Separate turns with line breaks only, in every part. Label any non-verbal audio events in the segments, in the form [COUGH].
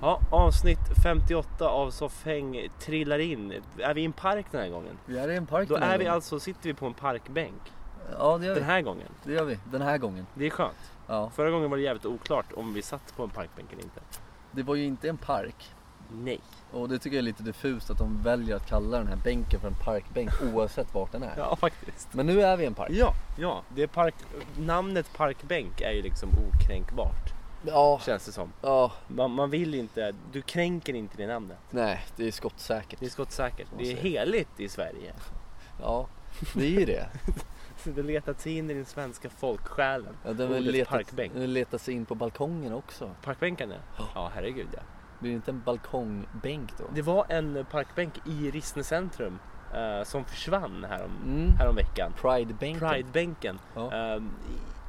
Ja, avsnitt 58 av Soffhäng trillar in. Är vi i en park den här gången?
Vi är i en park
Då
den här
är vi
gången.
alltså, sitter vi på en parkbänk
Ja, det gör,
den
vi.
här gången.
det gör vi. Den här gången.
Det är skönt.
Ja.
Förra gången var det jävligt oklart om vi satt på en parkbänk eller inte.
Det var ju inte en park.
Nej.
Och det tycker jag är lite diffust att de väljer att kalla den här bänken för en
[LAUGHS]
parkbänk oavsett vart den är.
Ja, faktiskt.
Men nu är vi i en park.
Ja, ja. Det är park... Namnet parkbänk är ju liksom okränkbart,
Ja,
känns det som.
ja.
Man, man vill inte, du kränker inte det namnet.
Nej, det är skottsäkert.
Det är skottsäkert. Det är
Vad säger
heligt i Sverige. [LAUGHS]
Ja, det är ju det.
Så Det letat sig in i den svenska folksjälen.
Ja, den har
[LAUGHS] Ordet
letat,
parkbänk.
den har letat sig in på balkongen också.
Parkbänkarna?
Ja.
Ja, herregud ja.
Blir det inte en balkongbänk då?
Det var en parkbänk i Rissne centrum eh, som försvann härom,
Mm.
häromveckan.
Pridebänken.
Pridebänken.
Ja.
Eh,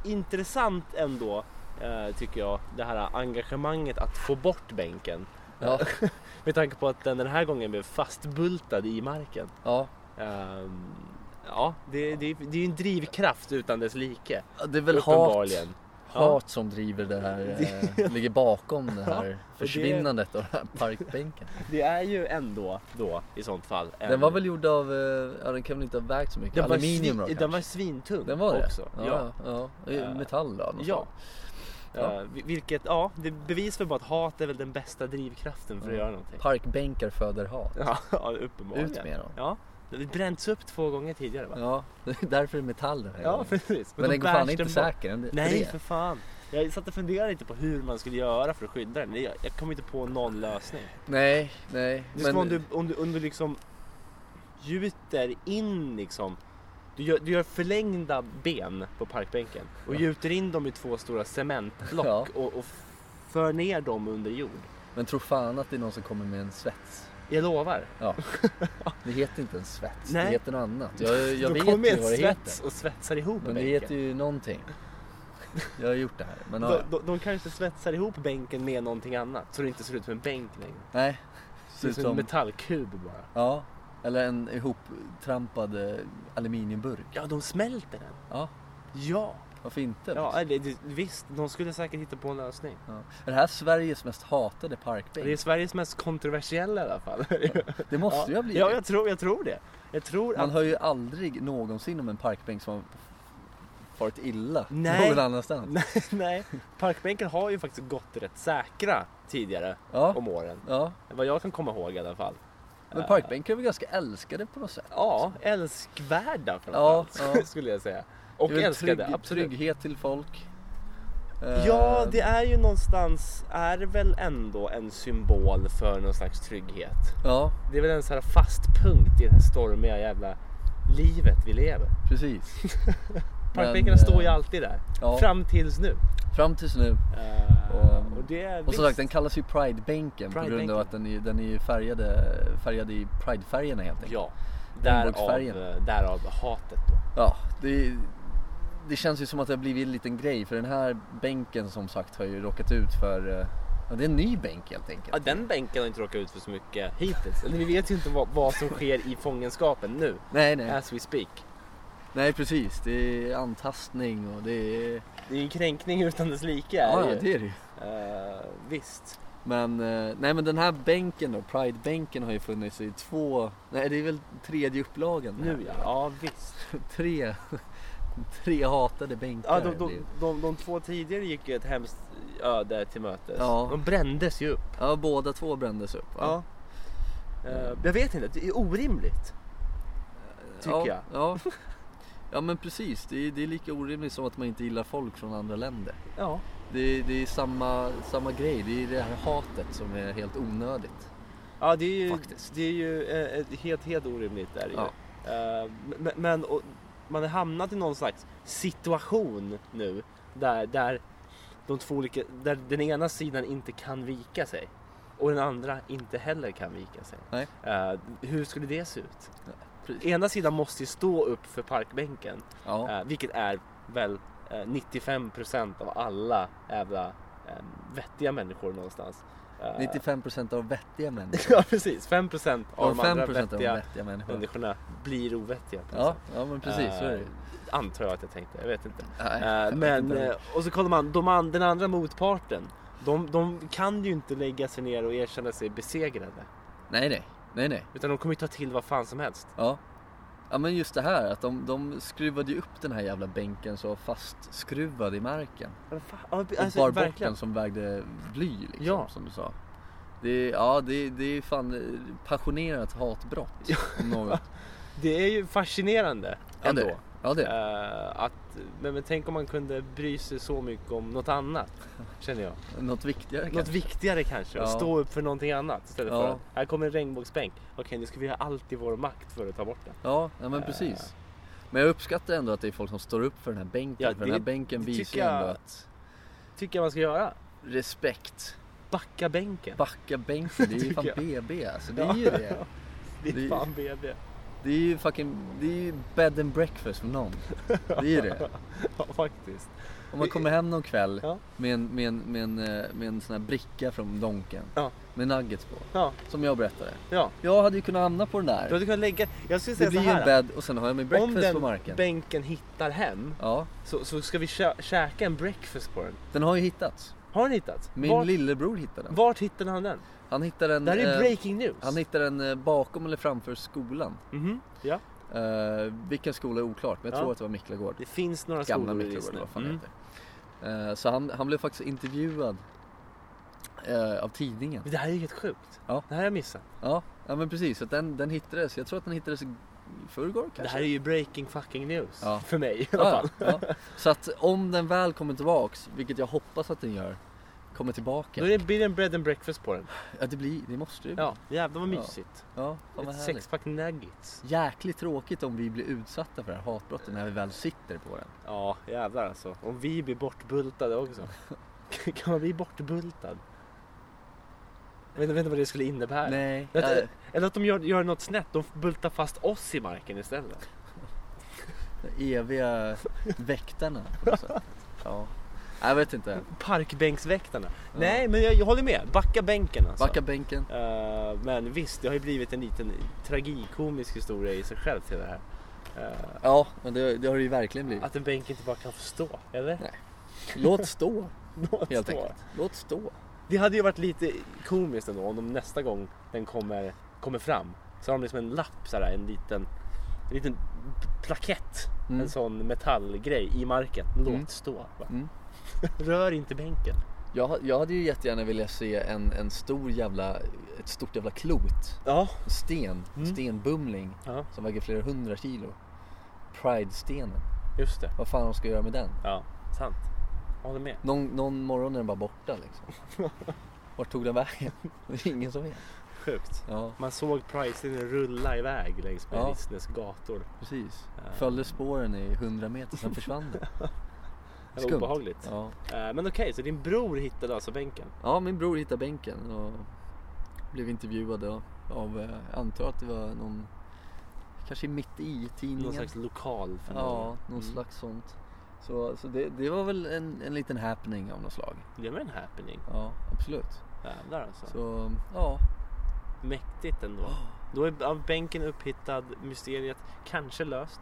intressant ändå eh, tycker jag det här engagemanget att få bort bänken. [LAUGHS]
Ja,
Med tanke på att den den här gången blev fastbultad i marken.
ja.
Eh, ja, det, det, det är ju en drivkraft utan dess like.
Det är väl hat,
uppenbarligen.
hat som driver det
[LAUGHS]
här, eh, ligger bakom det här försvinnandet av den här parkbänken.
Det är ju ändå då i sånt fall. en-
Den var väl gjord av, eh, ja den kan väl inte ha vägt så mycket,
den var
aluminium
svin-
då kanske?
Den var svintung
den var det?
också.
Ja, ja. Eh, Metall då? av något
Ja.
slag. Ja.
Eh, vi- vilket, ja, det bevis för bara att hat är väl den bästa drivkraften för att
Ja.
göra
[LAUGHS]
någonting.
Parkbänkar föder hat.
Ja, ja, uppenbarligen.
Ut med dem.
Ja, det har bränts upp två gånger tidigare va?
Ja, [LAUGHS] därför är det metall den här
Ja,
gången.
precis.
Men
då
den går
bärs
fan inte
bort.
säker. Den,
Nej,
det.
för fan. Jag satt och funderade lite på hur man skulle göra för att skydda den. Jag, jag kom inte på någon lösning.
nej, nej.
Det är som om du, om du, om du liksom gjuter in liksom du gör, du gör förlängda ben på parkbänken och
Ja.
gjuter in dem i två stora cementblock
Ja.
och, och för ner dem under jord.
men tro fan att det är någon som kommer med en svets.
Jag lovar.
Ja. Det heter inte en svets,
Nej.
det heter något annat. Jag, jag
Då
vet ju
kommer
vad
en
det
svets
heter.
och svetsar ihop
Men det
bänken.
heter ju någonting. Jag har gjort det här. Men ja,
de,
ja.
de, de kanske svetsar ihop bänken med någonting annat så det inte ser ut som en bänk längre.
nej.
Det ser ut som en metallkub bara.
Ja, eller en ihoptrampad eh, aluminiumburk.
Ja, de smälter den.
Ja,
Ja,
varför inte?
ja det, det, visst. De skulle säkert hitta på en lösning.
Ja. Är det här Sveriges mest hatade parkbänk?
Det är Sveriges mest kontroversiella i alla
[LAUGHS]
fall.
Det måste ju ha blivit.
Ja, jag tror, jag tror det. Jag tror
Man
att...
hör ju aldrig någonsin om en parkbänk som har farit illa
Nej.
någon annanstans.
Nej, [LAUGHS] nej, parkbänken har ju faktiskt gått rätt säkra tidigare
Ja,
om åren.
ja.
Vad jag kan komma ihåg i alla fall.
Men
Eh,
parkbänkar är väl ganska älskade på något sätt?
Ja, älskvärda
Ja,
framförallt [LAUGHS]
ja.
skulle jag säga. Och
Det är väl
älskade,
trygg-
absolut.
Trygghet till folk.
Ja,
Eh,
det är ju någonstans, är väl ändå en symbol för någon slags trygghet.
Ja,
Det är väl en sån här fast punkt i det här stormiga jävla livet vi lever.
precis. Men,
Parkbänkarna står ju
eh,
alltid där.
ja.
Fram tills nu.
Fram tills nu.
Eh,
Och-
och det är
Och som
visst.
sagt, den kallas ju Pridebänken på grund
Pridebänken.
av att den är, den är ju färgade, färgad i Pridefärgerna helt enkelt.
Ja, därav,
Regnbågsfärgen.
därav hatet då.
Ja, det, det känns ju som att det har blivit en liten grej för den här bänken som sagt har ju råkat ut för, eh, ja det är en ny bänk helt enkelt.
Ja, den bänken har inte råkat ut för så mycket hittills. Eller vi vet ju inte vad, vad som sker i fångenskapen nu,
Nej, nej,
as we speak.
nej precis. Det är antastning och det är...
Det är ju en kränkning utan dess like. är
Ja,
det
ja,
ju.
det är det ju.
Eh, visst.
Men, eh, nej men den här bänken då, Pride-bänken har ju funnits i två, nej det är väl tredje upplagan.
Nu ja. Ja, visst.
Tre, [LAUGHS] tre hatade bänkar.
Ja, de,
har det
de,
blivit.
de, de två tidigare gick ju ett hemskt öde till mötes.
Ja.
De brändes ju upp.
ja båda två brändes upp. va?
Eh, jag vet inte, det är orimligt. Tycker
ja,
jag.
Ja.
[LAUGHS]
ja men precis, det är, det är lika orimligt som att man inte gillar folk från andra länder.
Ja.
Det är, det är samma, samma grej, det är det här hatet som är helt onödigt.
Ja, det är ju,
Faktiskt.
det är ju eh, ett helt, helt orimligt där ju.
Ja.
Eh, men- Men och, man har hamnat i någon slags situation nu där, där, de två olika, där den ena sidan inte kan vika sig och den andra inte heller kan vika sig.
Nej.
Eh, hur skulle det se ut?
precis.
Ena sidan måste ju stå upp för parkbänken,
Ja,
eh, vilket är väl eh, 95% av alla jävla eh, vettiga människor någonstans. Eh,
95% av vettiga
[LAUGHS]
människor.
Ja precis, 5% av
Och
de andra
5% av de
vettiga
vettiga människorna.
människorna blir ovettiga. på något
Ja,
sätt.
ja men precis så är det
Eh,
ju.
Antar jag att jag tänkte, jag vet inte.
Nej,
Eh,
jag vet
men,
inte.
eh, och så kollar man, de an, den andra motparten, De, de kan ju inte lägga sig ner och erkänna sig besegrade.
Nej, nej. Nej, nej.
Utan de kommer ju ta till vad fan som helst.
Ja. Ja men just det här att de, de skruvade ju upp den här jävla bänken så fastskruvad i marken.
Ja, fan, ja,
Och
alltså,
bar bort
verkligen.
den som vägde bly liksom,
Ja.
som du sa. Det är, ja, det, är- det är fan eh, passionerat hatbrott. om något.
Det är ju fascinerande
Ja, det
ändå.
är det. Ja, det är det.
Eh, att, men, men tänk om man kunde bry sig så mycket om något annat, känner
[LAUGHS]
jag.
Något viktigare
Något
kanske.
viktigare kanske, att
Ja.
stå upp för någonting annat istället
Ja.
för att här kommer en regnbågsbänk. Okej, nu ska vi göra allt i vår makt för att ta bort den.
Ja, ja men
Eh.
precis. Men jag uppskattar ändå att det är folk som står upp för den här bänken.
Ja,
för
det-
den här bänken
det
visar
tycker
ju
jag-
ändå att
Tycker jag man ska göra.
respekt.
Backa bänken.
Backa bänken, det är ju fan
Tycker
BB alltså. Det är ju det.
Det är
det-
fan BB.
Det är ju fucking, det är ju bed and breakfast för någon. Det är ju det.
[LAUGHS] Ja, faktiskt.
Om man kommer hem någon kväll
Ja.
med, en, med, en, med, en, eh, med en sån här bricka från Donken.
Ja.
Med nuggets på.
Ja,
Som jag berättade.
ja.
Jag hade ju kunnat hamna på den
Du
där.
hade kunnat lägga... Jag skulle
Det
säga
blir ju
så
en
här.
bed och sen har jag min
om
breakfast
den
på marken.
bänken hittar hem
Ja,
så, så ska vi kä- käka en breakfast på den.
den har ju hittats.
Har den hittat?
Min
vart,
lillebror hittade den.
vart hittade han den?
Han hittade den,
Det här är
eh,
breaking news.
han hittade den eh, bakom eller framför skolan.
Mhm, Ja.
Eh, vilken skola är oklart, men jag
Ja.
tror att det var Miklagård.
Det finns några
Gamla
skolor i
Miklagård
Disney.
eller vad fan det
Mm.
heter. Eh, så han, han blev faktiskt intervjuad eh, av tidningen.
Men Det här är ju helt sjukt.
Ja.
Det här har jag missat.
Ja, ja men precis. Så att den, den hittades. Jag tror att den hittades i förrgår kanske.
Det här är ju breaking fucking news.
Ja.
För mig i alla
ja,
fall.
ja. Så att om den väl kommer tillbaks, vilket jag hoppas att den gör, kommer tillbaka.
Då är det, blir det en bread and breakfast på den.
Ja, det, blir, det måste det bli.
Ja, jävlar vad
Ja.
mysigt.
ja fan vad
Ett
härligt.
sexpack nuggets.
Jäkligt tråkigt om vi blir utsatta för det här hatbrottet när vi väl sitter på den.
Ja, jävlar alltså. Om vi blir bortbultade också. kan man bli bortbultad? Jag vet, vet inte vad det skulle innebära.
Nej.
Jag vet-
eh,
Eller att de gör, gör något snett. De bultar fast oss i marken istället.
de eviga väktarna på
[LAUGHS]
något sätt. Ja. Jag vet inte.
Parkbänksväktarna. Nej, men jag, jag håller med. Backa bänken alltså.
Backa bänken.
Eh, men visst, det har ju blivit en liten tragikomisk historia i sig själv till det här. Eh,
Ja, men det, det har det ju verkligen blivit.
att en bänk inte bara kan få stå, eller? [LAUGHS]
Nej. Låt stå,
Låt
helt
stå.
enkelt. Låt stå.
Det hade ju varit lite komiskt ändå om de nästa gång den kommer, kommer fram så har de liksom en lapp sådär, en liten, en liten plakett.
Mm.
En sån metallgrej i marken. Låt
Mm.
stå. va?
Mm.
[LAUGHS] Rör inte bänken.
Jag, jag hade ju jättegärna velat se en, en stor jävla, ett stort jävla klot.
Ja.
En sten,
Mm.
stenbumling
ja,
som väger flera hundra kilo. Pride-stenen.
just det.
Vad fan de ska göra med den?
Ja, sant. Jag håller med.
Någon, någon morgon är den bara borta liksom.
[LAUGHS]
Vart tog den vägen? [LAUGHS] Det är ingen som vet.
Sjukt.
Ja,
Man såg Price rulla iväg längs med
Ja.
Disneys gator. Eh,
precis.
Ja.
Följde spåren i 100 meter, sen försvann den.
[LAUGHS] Det var
Skumt.
obehagligt.
Ja.
Eh, Men okej, så din bror hittade alltså bänken?
ja, min bror hittade bänken och blev intervjuad av, av eh, jag antar att det var någon, kanske mitt i tidningen.
Någon slags lokal Mm.
Ja,
förmodligen.
någon slags sånt. Så, så det, det var väl en, en liten happening av något slag.
Det var en happening.
Ja, absolut.
Jävlar alltså.
Så ja,
Mäktigt ändå. Då är av bänken upphittad, mysteriet kanske löst.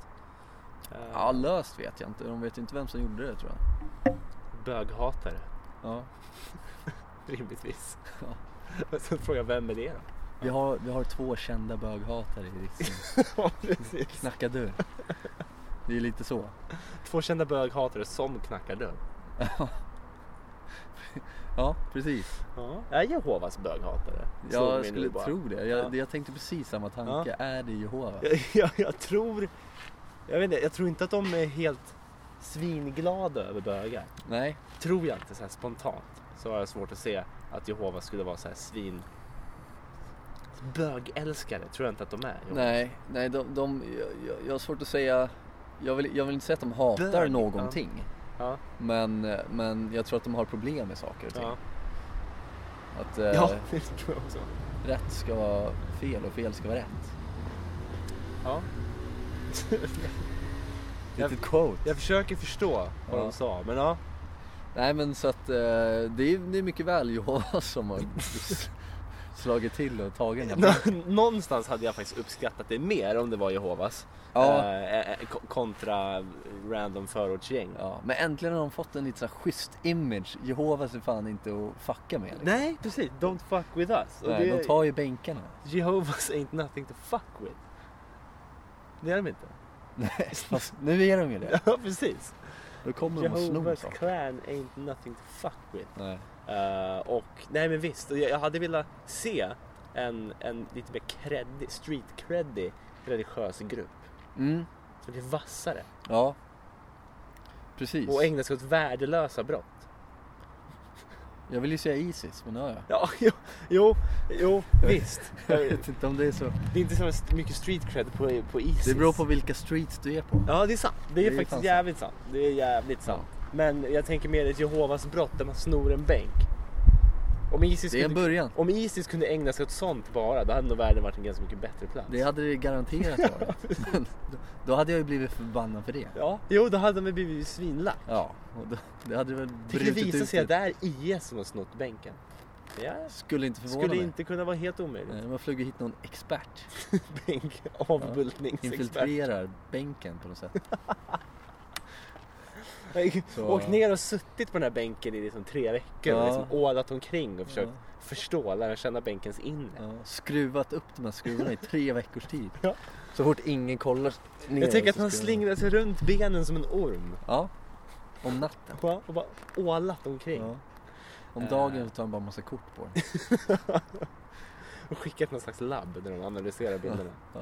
Eh,
ja löst vet jag inte. De vet ju inte vem som gjorde det tror jag.
Böghatare, [LAUGHS]
Ja.
rimligtvis.
Ja.
[LAUGHS] Och Sen frågar jag, vem är
[LAUGHS]
det då?
Vi, har, vi har två kända böghatare i Riksdagen.
Ja, precis.
Knacka dörr. Det är lite så.
Två kända böghatare som knackar dörr.
Ja, precis.
Ja. Är Jehovas böghatare? Slog mig nu
Jag skulle
bara. [LAUGHS]
tro det. Jag,
Ja.
det- jag tänkte precis samma tanke. Är det Jehova?
Jag, jag, jag tror... Jag vet inte, jag tror inte att de är helt svinglada över bögar.
Nej.
Tror jag inte så här spontant. Så har jag svårt att se att Jehova skulle vara så här svin... Bögälskare tror jag inte att de är. Jehova.
Nej, nej de, de, jag- jag, jag har svårt att säga. Jag vill, jag vill inte säga att de hatar
Bög, ja.
någonting.
Ja,
Men, men jag tror att de har problem med saker och ting.
ja.
Att eh,
ja, [LAUGHS] det tror jag också.
rätt ska vara fel och fel ska vara rätt.
Ja. Jag-
Litet quote.
Jag försöker förstå vad
Ja.
de sa, men ja.
[LAUGHS] Nej men så att eh, det, är, det är mycket väl Jehovas som har slagit till och tagit
[LAUGHS]
den. här.
Nå- Någonstans hade jag faktiskt uppskattat det mer om det var Jehovas.
Ja,
Eh, eh, ko- kontra random förortsgäng.
ja, men äntligen har de fått en lite så här schysst image. Jehovas är fan inte att fucka med. Liksom.
Nej, precis. Don't fuck with us. Och
Nej,
det-
de tar
[LAUGHS]
ju bänkarna.
Jehovas ain't nothing to fuck with. Det är de inte.
Fast nu är de ju det.
[LAUGHS] Ja, precis.
Då kommer de och snor
Jehovas
saker.
clan ain't nothing to fuck with.
Nej.
Eh, och nej men visst, och jag, jag hade velat se en, en lite mer creddig, street creddig religiös grupp.
Mm,
Som blir vassare
ja. Precis.
och ägnar sig åt värdelösa brott.
Jag vill ju säga Isis, men det har jag.
Ja, [LAUGHS] jo, jo, jo visst. Eh,
Jag vet inte om det är så.
Det är inte så mycket street cred på, på Isis.
Det beror på vilka streets du är på.
Ja, det är sant. Det är,
Det är fan
faktiskt
sant.
jävligt sant. Det är jävligt sant. Men jag tänker mer ett Jehovas brott där man snor en bänk. Om Isis,
Det är en
kunde,
början.
om Isis kunde ägna sig åt sånt bara, då hade nog världen varit en ganska mycket bättre plats.
Det hade det garanterat varit. Men då- då hade jag ju blivit förbannad för det.
Ja, jo, då hade de blivit svinlack.
Ja, och då, det hade väl
Tycker det
brutit
visar
ut.
sig att det
det.
är IS som har snott bänken. Ja,
Skulle inte förvåna
skulle
mig.
inte kunna vara helt omöjligt.
Nej, Man flyger hit någon expert.
[LAUGHS] Bänk, avbultningsexpert.
Infiltrerar bänken på något sätt. Så-
Åkt ner och suttit på den här bänken i liksom tre veckor och
Ja.
liksom ålat omkring och försökt
Ja.
förstå, lära känna bänkens inre.
Ja, skruvat upp de här skruvarna i tre veckors tid.
Ja.
Så fort ingen kollar ner
Jag tänker att
så
han
skruvar man.
slingrar sig runt benen som en orm.
Ja, om natten.
Bara, och bara ålat omkring.
Ja. Om
Eh.
dagen så tar han bara massa kort på den.
Och skickat någon slags labb där de analyserar bilderna.
Ja.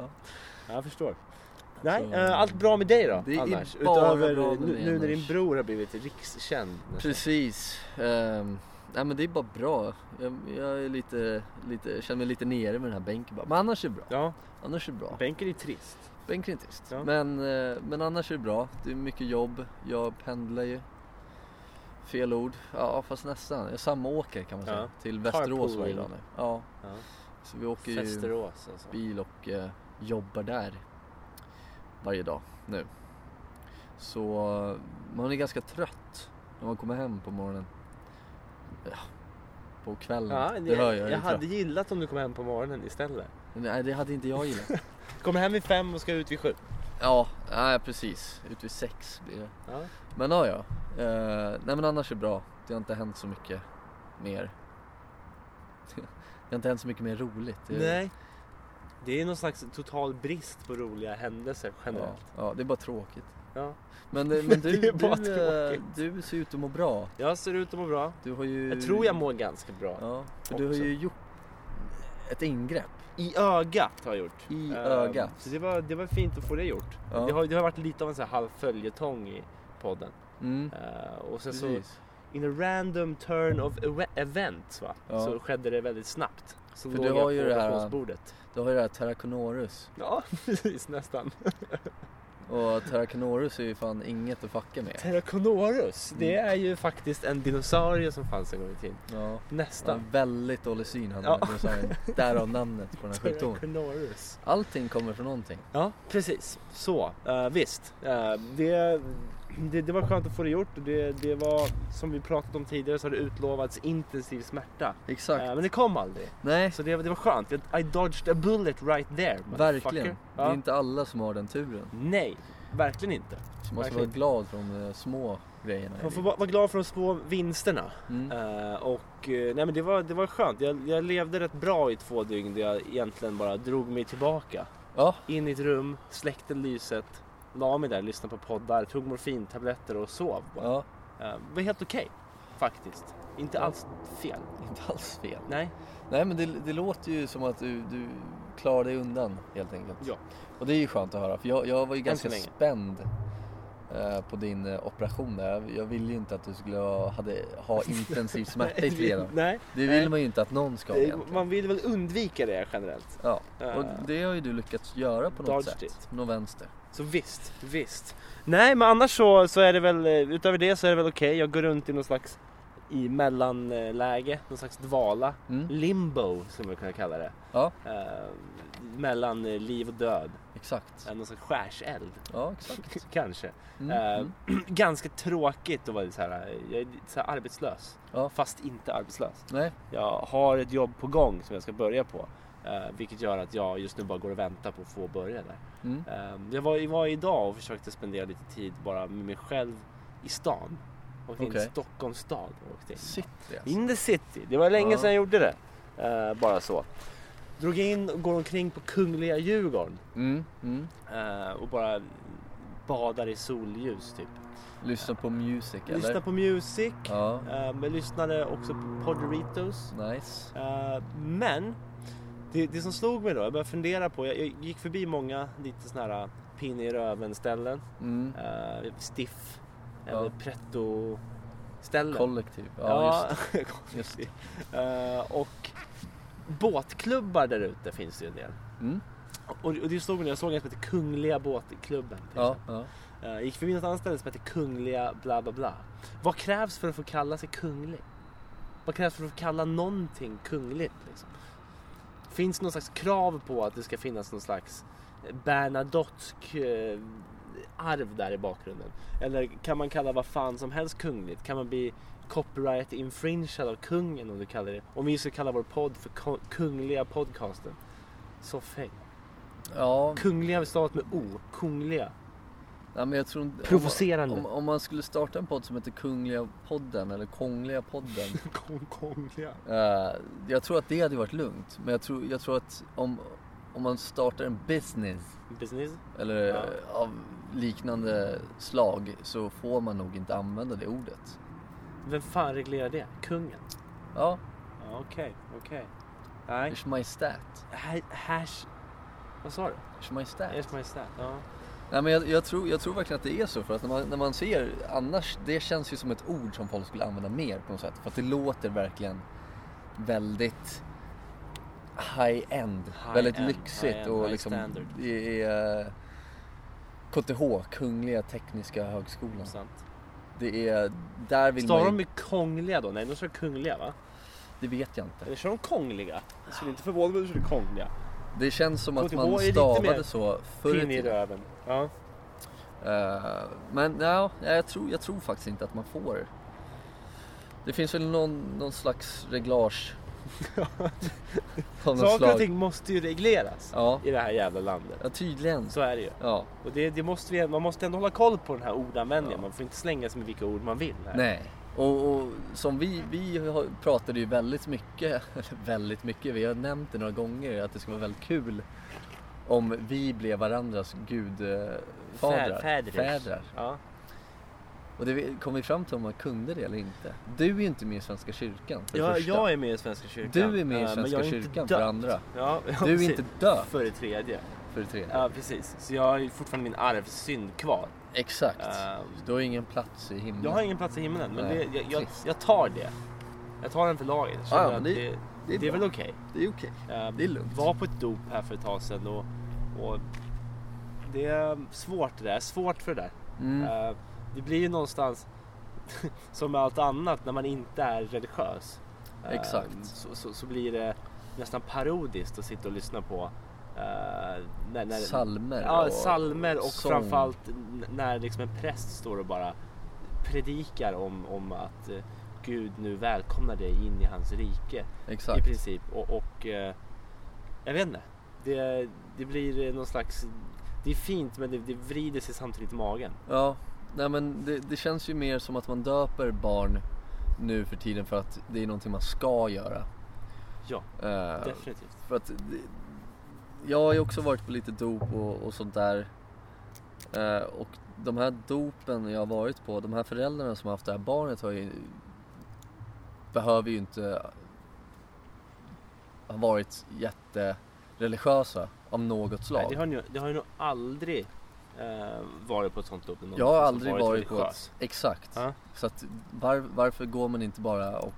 Ja, jag förstår. Nej,
Så-
eh, allt bra med dig då
Det är
annars?
bara
Utöver
bra med
nu,
mig
nu när
annars.
din bror har blivit rikskänd.
Precis. Um, nej men det är bara bra. Jag, jag är lite, lite, känner mig lite nere med den här bänken bara. Men annars är det bra.
Ja,
Annars är det bra.
bänken är trist.
Bänken är trist.
Ja.
Men, eh, men annars är det bra. Det är mycket jobb. Jag pendlar ju. Fel ord. Ja fast nästan. Jag samåker kan man säga.
Ja.
Till Västerås
Carpooling.
varje dag nu. Ja.
Ja.
Så vi åker ju
Västerås alltså.
bil och eh, jobbar där. Varje dag nu. Så eh, man är ganska trött när man kommer hem på morgonen. Ja, på kvällen.
Ja,
det,
jag,
hör jag.
jag,
är trött.
hade gillat om du kom hem på morgonen istället.
Nej det hade inte jag gillat.
[LAUGHS] Kommer hem vid fem och ska ut vid sju.
ja, nej, precis. Ut vid sex blir det.
Ja.
Men ja, ja. Eh, nej men annars är det bra. Det har inte hänt så mycket mer. Det har inte hänt så mycket mer roligt. Det-
Nej. Det är någon slags total brist på roliga händelser
Ja,
generellt.
ja, det är bara tråkigt.
Ja.
Men, eh,
[LAUGHS]
men
Det
du,
är bara
du, eh,
tråkigt.
du ser ut att må bra.
Jag ser ut att må bra.
Du har ju...
Jag tror jag mår ganska bra.
Ja, för du har
också.
ju gjort ett ingrepp.
I ögat har jag gjort.
I
Ehm,
ögat.
Så det var, det var fint att få det gjort.
Ja.
Det, har, det har varit lite av en sån här halv följetong i podden.
[LAUGHS] Mm.
Ehm, och sen så,
Precis.
in a random turn of ev- events va,
Ja.
så skedde det väldigt snabbt. Så
För
låg
du
jag
har ju
på
det här-
operationsbordet.
Du har ju det här Terraconorus.
Ja, [LAUGHS] precis nästan.
Och Terraconorus är ju fan inget att fucka med.
Terraconorus, det är ju faktiskt en dinosaurie som fanns en gång i tiden.
Ja. Han
Nästan.
har väldigt dålig syn han
Ja.
ja. Därav namnet
[LAUGHS]
på den här sjukdomen.
Terraconorus.
Allting kommer från någonting.
Ja, precis. Så, eh, visst. Eh, det, det, det var skönt att få det gjort. och Det, det var, som vi pratat om tidigare, så har det utlovats intensiv smärta.
Exakt.
Eh, men det kom aldrig.
Nej,
Så det, det var skönt. I dodged a bullet right there. motherfucker.
verkligen. Det
Ja.
är inte alla som har den turen.
Nej, verkligen inte.
Så man ska vara
Verkligen.
glad för de eh, små grejerna. i
Man får
livet.
bara vara glad för de små vinsterna.
mm.
Eh, och eh, nej men det var, det var skönt. Jag, jag levde rätt bra i två dygn där jag egentligen bara drog mig tillbaka.
Ja,
In i ett rum, släckte lyset, la mig där, lyssnade på poddar, tog morfintabletter och sov. bara.
ja.
Eh, Det var helt okej faktiskt. Inte alls fel.
Inte alls fel.
Nej.
Nej men det, det låter ju som att du, du klarar dig undan helt enkelt.
Ja.
Och det är ju skönt att höra för jag, jag var ju ganska
så länge.
spänd eh, på din eh, operation där. Jag- Jag ville ju inte att du skulle ha, hade,
[LAUGHS]
ha intensiv smärta i tre dagar.
Nej.
Det vill man ju inte att någon ska ha
Eh,
egentligen.
Man vill väl undvika det generellt.
Ja.
Eh,
Och det har ju du lyckats göra på något
Dodge
sätt.
it.
Någon vänster.
Så visst, visst. Nej men annars så, så är det väl, eh, utöver det så är det väl okej. Jag går runt i någon slags i mellanläge, någon slags dvala.
Mm.
Limbo skulle man kunna kalla det.
Ja.
Eh, mellan eh, liv och död.
Exakt.
Någon sorts
[LAUGHS]
skärseld.
Ja, exakt.
Kanske.
Mm.
Eh, [CLEARS THROAT]
Mm.
Ganska tråkigt att vara så här, jag är lite så här arbetslös.
Ja.
Fast inte arbetslös.
Nej,
Jag har ett jobb på gång som jag ska börja på. eh, vilket gör att jag just nu bara går och väntar på att få börja där.
mm.
Eh, jag var, var idag och försökte spendera lite tid bara med mig själv i stan. Och in till
Okej.
Stockholms stad. och åkte in.
city alltså.
In the city. Det var länge
Ja.
sedan jag gjorde det. Eh, bara så. Drog in och går omkring på Kungliga Djurgården.
Mm. Mm.
eh, och bara badar i solljus typ.
Lyssna på music eller?
Lyssnade på music.
Ja,
eh, men lyssnade också på Poderitos.
nice.
Eh, men det, det som slog mig då, jag började fundera på, jag, jag gick förbi många lite sådana här pinne i röven ställen.
Mm.
eh, stiff
Ja.
eller pretto ställen.
Kollektiv. Ja,
just
just, just. det.
[LAUGHS] Eh, och båtklubbar där ute finns det ju en del.
Mm.
Och, och det slog mig när jag såg en som heter Kungliga båtklubben. till
Ja,
exempel.
ja.
Eh, gick förbi något annat ställe som heter Kungliga bla bla bla. Vad krävs för att få kalla sig kunglig? Vad krävs för att få kalla någonting kungligt? Liksom? Finns det någon slags krav på att det ska finnas någon slags eh, Bernadottsk eh, arv där i bakgrunden? Eller kan man kalla vad fan som helst kungligt? Kan man bli copyright infringed av kungen om du kallar det? Om vi ska kalla vår podd för ko- Kungliga podcasten. Så fäng.
ja.
Kungliga vi stavat med O. Kungliga.
Nej, men jag tror inte...
Provocerande.
Om, om man skulle starta en podd som heter Kungliga podden eller Kongliga podden.
[LAUGHS] Kung- Kungliga.
eh, jag tror att det hade varit lugnt. Men jag tror, jag tror att om, om man startar en business
Business?
eller
Ja.
eh, av liknande slag så får man nog inte använda det ordet.
Vem fan reglerar det? Kungen?
Ja,
Ja, Okej, okej. Nej.
Ers Majestät.
Ha- Hash... Vad sa du?
Ers Majestät.
Ers Majestät? Ja.
Nej, men jag, jag, tror, jag tror verkligen att det är så. För att när man, när man ser annars, det känns ju som ett ord som folk skulle använda mer på något sätt. För att det låter verkligen väldigt high-end.
High
väldigt
end,
lyxigt
high end,
och
high
liksom
standard.
det är eh, KTH, Kungliga Tekniska Högskolan.
Sant.
Det är, där vill
Stavar de
man ju,
med kongliga då? Nej, de kör kungliga va?
Det vet jag inte.
Eller kör de kongliga? Jag skulle inte förvåna mig om de körde kongliga.
Det känns som att
KTH
man
är lite mer
stavade så förr i
Pinn i
tiden.
röven. Ja.
Eh, men no, jag, tror, jag tror faktiskt inte att man får. Det finns väl någon, någon slags
[LAUGHS]
reglage. Av något
Saker och
slag.
ting måste ju regleras
Ja,
i det här jävla landet.
ja, tydligen.
Så är det ju.
Ja,
Och det, det måste vi, man måste ändå hålla koll på den här ordanvändningen.
Ja.
Man får inte slänga sig med vilka ord man vill. Här.
nej. Och, och som vi, vi har- pratade ju väldigt mycket, [LAUGHS] eller väldigt mycket, vi har nämnt det några gånger att det skulle vara väldigt kul om vi blev varandras gudfadrar.
Fä- fäders.
Fädrar.
Ja.
Och det kom vi fram till om man kunde det eller inte. Du är ju inte med i Svenska kyrkan för det
Jag,
första.
jag är med i Svenska kyrkan.
Du är
Eh,
med i
men jag
Svenska
är inte
kyrkan för
döpt. [LAUGHS]
andra.
Ja, ja,
Du är
precis.
inte döpt
För det tredje.
för det tredje.
Ja, precis. Så jag har ju fortfarande min arvsynd kvar.
Exakt.
Ehm,
Eh, Du har ingen plats i himlen.
jag har ingen plats i himlen, men
Nej,
det, jag, jag,
trist.
jag tar det. Jag tar den för laget. Jag känner
Ja, men
att
det-
det,
det är
det är
bra.
väl okej.
Det är okej.
Eh,
Det är lugnt.
Var på ett dop här för ett tag sedan och, och det är svårt det där. Svårt för det där.
Mm.
Eh, det blir ju någonstans [LAUGHS] som med allt annat när man inte är religiös. Eh,
Exakt.
Så, så, så blir det nästan parodiskt att sitta och lyssna på eh, när, när,
Salmer
Ja,
och
salmer och
sång.
framförallt n- när liksom en präst står och bara predikar om, om att eh, Gud nu välkomnar dig in i hans rike i
Exakt.
princip. Och, och eh, jag vet inte. Det, det blir eh, någon slags... Det är fint men det, det vrider sig samtidigt i magen.
Ja. Nej men det, det känns ju mer som att man döper barn nu för tiden för att det är någonting man ska göra.
Ja,
Ehm,
definitivt.
För att det, jag har ju också varit på lite dop och, och sånt där. Eh, och de här dopen jag har varit på, de här föräldrarna som har haft det här barnet har ju, behöver ju inte ha varit jättereligiösa av något slag.
Nej, det, har ni, det har ju nog aldrig eh, varit på ett sånt dop. någon
jag har
som
aldrig varit, på
religiös.
ett... Exakt.
Ja.
Så att var, varför går man inte bara och...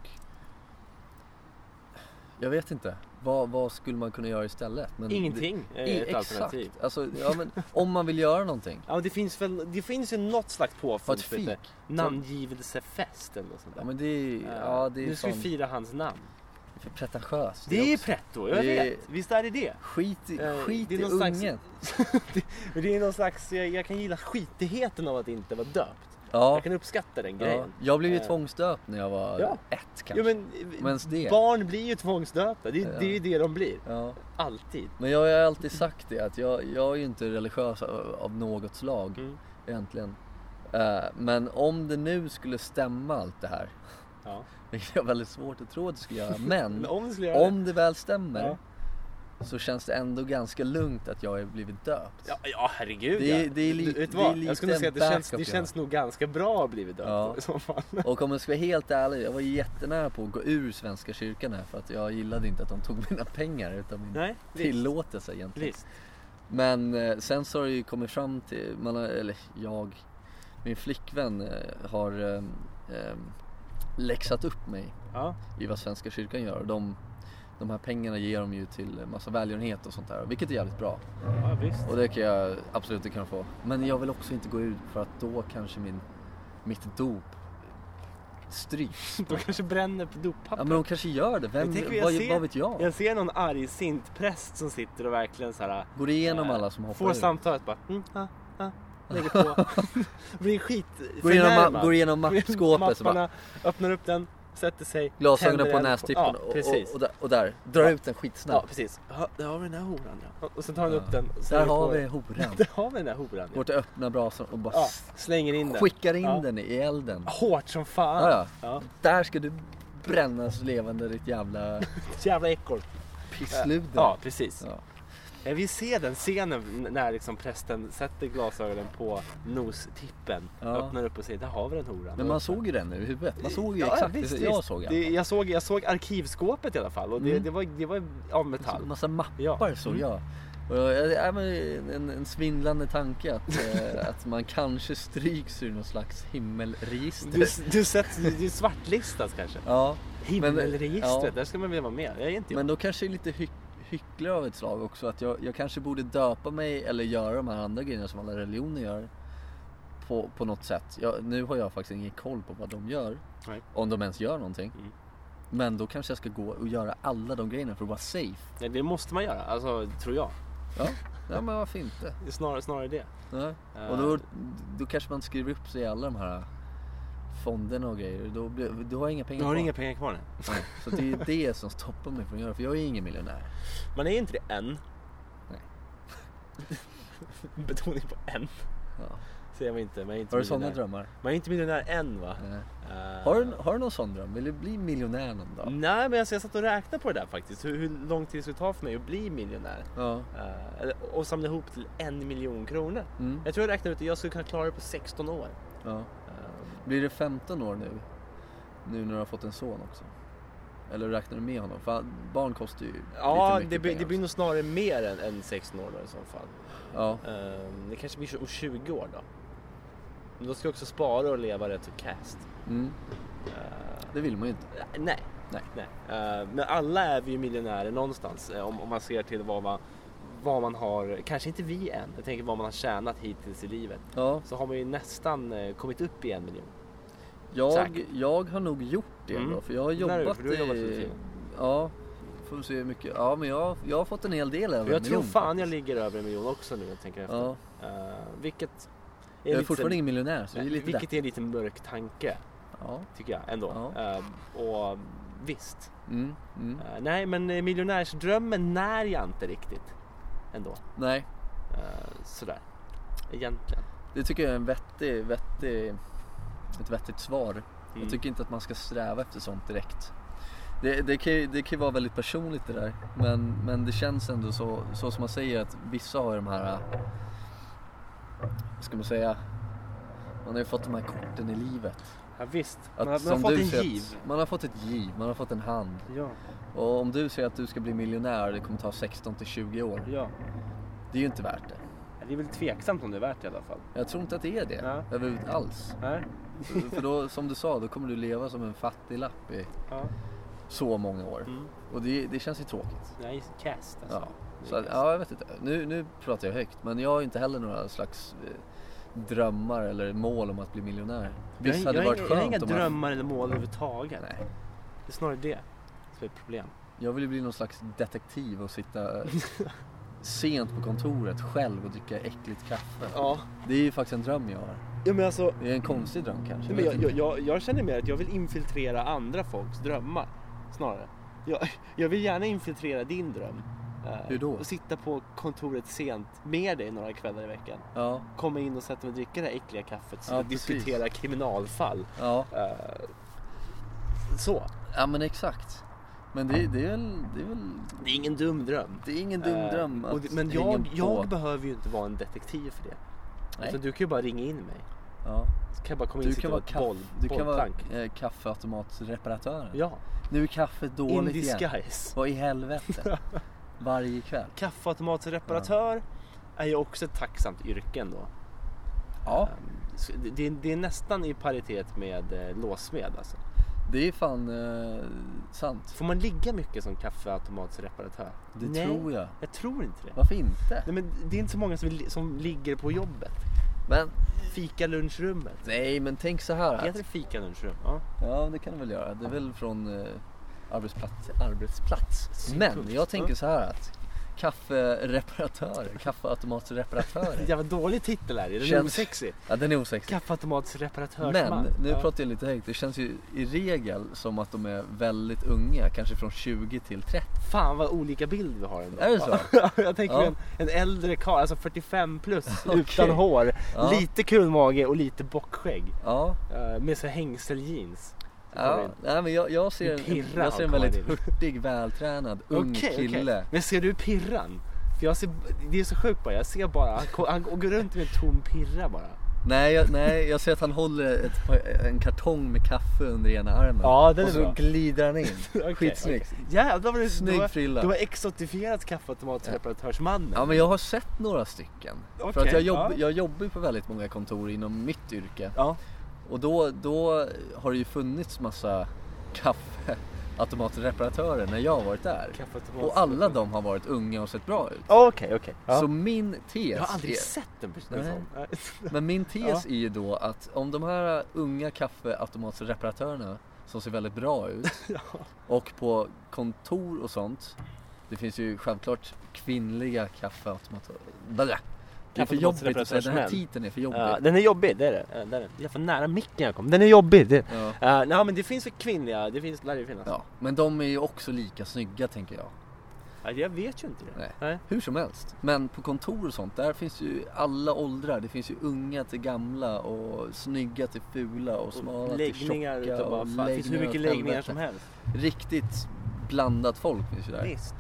Jag vet inte. Vad, vad skulle man kunna göra istället? Men det-
Ingenting är
I-
ett alternativ.
Eh, Alltså, ja, men, om man vill göra någonting.
Ja, men det finns väl det finns ju något slags
Ha ett
påfund. för
fik.
det. Namngivelsefest eller något sånt där.
Ja men det är,
Eh,
ja, det är
nu ska vi
fan-
fira hans namn.
för pretentiöst.
Det är
också.
pretto, jag
Det är-
vet. Visst är det det?
Skit i,
Eh,
skit
det är
i
någon slags-
ungen.
Men det är någon slags, jag, jag kan gilla skitigheten av att inte vara döpt.
Ja,
Jag kan uppskatta den
ja.
grejen.
Jag blev ju
Eh.
tvångsdöpt när jag var
Ja.
ett kanske.
Jo, men,
Men ens det.
barn blir ju tvångsdöpta, det, är-
Ja.
det är ju det de blir.
Ja.
Alltid.
Men jag har ju alltid sagt det att jag, jag är ju inte religiös av, av något slag
Mm.
egentligen. Eh, men om det nu skulle stämma allt det här, [LAUGHS]
Ja.
vilket jag har väldigt svårt att tro att det skulle göra,
[LAUGHS] Men
men
om vi skulle göra det.
om det väl stämmer
Ja.
så känns det ändå ganska lugnt att jag har blivit döpt.
Ja, ja herregud
Det är-
ja.
det är li-
Du vet
det
vad?
är
Jag skulle nog
lite
säga att det känns,
backup,
det
ja.
känns nog ganska bra att ha blivit döpt
Ja.
i så fall.
Och om jag ska vara helt ärlig, jag var jättenära på att gå ur Svenska kyrkan här för att jag gillade inte att de tog mina pengar utan min
Nej, visst.
tillåtelse egentligen.
visst.
Men eh, sen så har det ju kommit fram till, man har, eller jag, min flickvän eh, har eh, eh, läxat upp mig
Ja.
i vad Svenska kyrkan gör. Och de, de här pengarna ger de ju till massa välgörenhet och sånt där, vilket är jävligt bra.
ja, visst. [LAUGHS]
Och det kan jag absolut inte kunna få. Men jag vill också inte gå ut för att då kanske min, mitt dop stryps.
De kanske bränner på
Ja
doppappret.
men de kanske gör det, Vem,
Men tänk om jag
vad,
ser-
vad vet jag?
Jag ser någon argsint präst som sitter och verkligen så här.
Går igenom
eh,
alla som hoppar
Får
ur.
samtalet bara. Mm, ah,
[LAUGHS]
ah, lägger på. Blir skit
Går igenom, ma-
[LAUGHS]
går igenom mappskåpet så bara
Mapparna, öppnar upp den, sätter sig.
Glasögonen
tänder
på
eld
nästipparna
Ja,
och,
precis.
och, och, där, och där, drar
Ja.
ut den
ja,
skitsnabbt.
precis. Ja, där har vi den här horan. ja. Och- Och så tar han upp
Ja.
den. och så
där
lägger [LAUGHS]
har
på
vi
den.
horan.
Där har vi den här horan. ja.
Går till öppna brasan och bara
Ja, slänger in den.
skickar in
Ja.
den i elden.
Hårt som fan.
Ja, ja.
Ja.
Där ska du brännas levande
[LAUGHS]
ditt jävla
Jävla ekorre.
pissluder.
Ja, precis.
Ja.
Eh, Vi ser den scenen när liksom prästen sätter glasögonen på nostippen,
Ja.
öppnar upp och säger där har vi den horan.
Men man såg ju den nu i huvudet. Man såg ju exakt det som jag såg. i alla
det,
fall.
jag såg. Jag såg arkivskåpet i alla fall och det,
Mm.
det, var, det var av metall.
Alltså, Massa mappar
Ja. Mm.
såg jag. Och jag- jag- ja, men en, en svindlande tanke att,
[LAUGHS]
eh, att man kanske stryks ur någon slags himmelregister.
Du, du, sett, du är svartlistad kanske.
Ja,
Himmelregistret,
eh, ja.
där ska man väl vara med. Jag är inte
men då kanske det är lite hyck, hyckler av ett slag också. Att jag, jag kanske borde döpa mig eller göra de här andra grejerna som alla religioner gör. På, på något sätt. Jag, nu har jag faktiskt ingen koll på vad de gör.
Nej.
Om de ens gör någonting.
Mm.
Men då kanske jag ska gå och göra alla de grejerna för att vara safe.
jag. Det måste man göra, alltså, tror jag.
Ja, ja men varför inte?
Snarare, snarare det.
Ja.
Eh,
Och då, då kanske man skriver upp sig i alla de här fonderna och grejer. Då, blir, då har jag inga pengar
du har
kvar.
inga pengar kvar nu.
[LAUGHS] Nej, Så det är ju det som stoppar mig från att göra det, för jag är ingen miljonär.
Man är inte det än.
Nej.
[LAUGHS] Betoning på än.
Ja.
Säger man inte. Man är inte
Har du sådana
miljonär.
drömmar?
Man är inte miljonär än va?
Nej.
Eh,
Har, du, har du någon sån dröm? Vill du bli miljonär någon dag?
Nej men alltså, jag satt och räknade på det där faktiskt. Hur, hur lång tid det skulle ta för mig att bli miljonär.
Ja.
Eh, eller- och samla ihop till en miljon kronor.
Mm.
Jag tror jag räknade ut att jag skulle kunna klara det på 16 år.
ja.
Eh,
Blir det 15 år nu? Nu när du har fått en son också? Eller räknar du med honom? För barn kostar ju
ja,
lite mycket
det, blir-
pengar
det blir
också.
nog snarare mer än, än 16 år då, i så fall.
Ja.
Eh, det kanske blir så- om 20 år då. Men då ska jag också spara och leva rätt så cast.
Mm.
Eh,
Det vill man ju inte.
Nej.
Nej.
Eh, men alla är vi ju miljonärer någonstans eh, om, om man ser till vad man, vad man har, kanske inte vi än, jag tänker vad man har tjänat hittills i livet.
Ja.
Så har man ju nästan eh, kommit upp i en miljon.
Jag,
Säkert.
jag har nog gjort det
Mm.
då, för jag har
Där är du,
jobbat
för du har jobbat
i...
under tiden.
ja, får vi se hur mycket. Ja, men jag, jag har fått en hel del över
Och jag
en miljon,
tror fan jag
faktiskt.
ligger över en miljon också nu jag tänker efter.
Ja,
Eh, vilket är,
jag är
lite-
fortfarande ingen miljonär, så det är lite
vilket
lätt.
är en lite mörk tanke
Ja.
tycker jag ändå.
Ja.
Eh, och visst,
Mm, mm.
Eh, nej men eh, miljonärsdrömmen när jag inte riktigt ändå.
Nej,
Uh, sådär, egentligen.
det tycker jag är en vettig, vettig, ett vettigt svar.
Mm.
Jag tycker inte att man ska sträva efter sånt direkt. Det, det, kan, ju- det kan ju vara väldigt personligt det där, men, men det känns ändå så, så som man säger att vissa har ju de här, äh, vad ska man säga, man har ju fått de här korten i livet.
Ja, visst, man,
Att
har- man har
som
fått
du
en
säger att-
giv.
Man har fått ett giv, man har fått en hand.
Ja,
Och om du säger att du ska bli miljonär och det kommer ta 16 till 20 år,
ja.
det är ju inte värt det.
Det är väl tveksamt om det är värt det i alla fall.
Jag tror inte att det är det,
Ja.
överhuvud- alls.
Nej.
För- För då, som du sa, då kommer du leva som en fattiglapp i
Ja.
så många år.
Mm.
Och det, det känns ju tråkigt.
Nej, cast alltså.
Ja. Så att, ja, jag vet inte. Nu, nu pratar jag högt, men jag har ju inte heller några slags eh, drömmar eller mål om att bli miljonär. Visst
jag,
hade
jag,
det varit
jag, jag har
skönt
inga
om man...
drömmar eller mål överhuvudtaget.
Nej.
Det är snarare det. som är ett problem.
Jag vill ju bli någon slags detektiv
[LAUGHS]
och sitta sent på kontoret själv och dricka äckligt kaffe.
Ja,
Det är ju faktiskt en dröm jag har.
ja men alltså.
Det är en konstig dröm kanske.
Nej, men
jag
jag,
vet
jag,
inte.
jag, jag känner mer att jag vill infiltrera andra folks drömmar snarare. Jag, jag vill gärna infiltrera din dröm. Eh,
Hur då?
Och sitta på kontoret sent med dig några kvällar i veckan.
Ja,
Komma in och sätta mig och dricka det här äckliga kaffet
Ja,
och
precis.
diskutera kriminalfall.
ja.
Eh, så.
ja men exakt. Men det, det, är väl, det är väl...
Det är ingen dum dröm.
Det är ingen dum
Eh,
dröm
och
att
det- Men
hänga
jag,
på.
jag behöver ju inte vara en detektiv för det.
Nej.
Utan du kan ju bara ringa in mig.
ja.
Så kan jag bara komma in
Du
och sitta
kan vara,
med ett boll,
kaff, du kan vara
bollplank.
eh, kaffeautomatreparatören.
Ja,
Nu är kaffet
in
dåligt igen.
disguise.
Vad i
[LAUGHS]
helvete? Varje kväll.
Kaffeautomatsreparatör är ju också ett tacksamt yrke ändå. Ehm,
Ja,
Så det- Det, är- det är nästan i paritet med eh, låssmed alltså.
det är fan eh, sant.
Får man ligga mycket som kaffeautomatsreparatör?
Det tror jag.
Jag tror inte det.
Varför inte?
Nej, men det är inte så många som, vill- som ligger på jobbet.
Men,
Fika lunchrummet.
nej men tänk så här. Att,
Heter det fika lunchrum? Ja.
ja, det kan du väl göra. Det är väl från eh, arbetsplats, arbetsplats. Men jag tänker så här att kaffereparatörer, kaffeautomatreparatörer.
Jävla dålig titel är det. Den är
Känns-
osexig.
ja, den är osexig.
Kaffeautomatsreparatör.
Men nu pratar jag lite högt. Det känns ju i regel som att de är väldigt unga, kanske från 20 till 30.
Fan vad olika bild vi har ändå.
Är det så?
Ja, [LAUGHS] jag tänker
Ja.
mig en, en äldre karl, alltså 45 plus,
[LAUGHS] Okej.
utan hår.
Ja.
Lite kul mage och lite bockskägg.
Ja,
Eh, med så hängseljeans.
ja. Nej, men jag, jag ser
Du
en,
pirrar
jag ser en
av
väldigt
Karin.
hurtig, vältränad, ung
Okej, okej.
kille.
Men ser du pirran? För jag ser, det är så sjukt bara, jag ser bara, han, ko- han går runt med en tom pirra bara.
Nej, jag, nej, jag ser att han håller ett, par- en kartong med kaffe under ena armen.
Ja, den
och
är
så
bra.
glider han in.
[LAUGHS] Okej,
[LAUGHS] Skitsnyggt.
okej. Jävlar vad du,
Snygg
du, har,
frilla.
du har exotifierat kaffeautomatreparatörsmannen.
Ja, men jag har sett några stycken. För
Okej,
att jag, jobb,
ja.
jag jobbar ju på väldigt många kontor inom mitt yrke.
Ja.
Och då, då har det ju funnits massa kaffeautomatreparatörer när jag har varit där.
Kaffeautomat-
Och alla de har varit unga och sett bra ut.
Okej, okej. Ja.
Så min tes
Jag har aldrig
är...
sett en person
Nej.
sån. Nej. [LAUGHS]
Men min tes är ju då att om de här unga kaffeautomatsreparatörerna som ser väldigt
[LAUGHS]
bra ut och på kontor och sånt. Det finns ju självklart kvinnliga kaffeautomater. Blablabla. Det är för jobbigt att säga, den här
Kaffeautomatsreparatörsmän.
titeln är för jobbig. [LAUGHS]
Ja, den är jobbig, det är det. Ja, det är den. Jag får nära micken jag kom. Den är jobbig. Det.
Ja.
Ja, nej, men det finns ju kvinnliga, det finns, lär ju finnas.
Ja, men de är ju också lika snygga tänker jag.
Ja, jag vet ju inte det.
Nej. Hur som helst. Men på kontor och sånt, där finns ju alla åldrar. Det finns ju unga till gamla och snygga till fula och smala
Och
till tjocka.
läggningar utav bara fan, det finns hur
läggningar
mycket
åt
läggningar
helvete.
som helst.
riktigt blandat folk finns ju där.
Visst.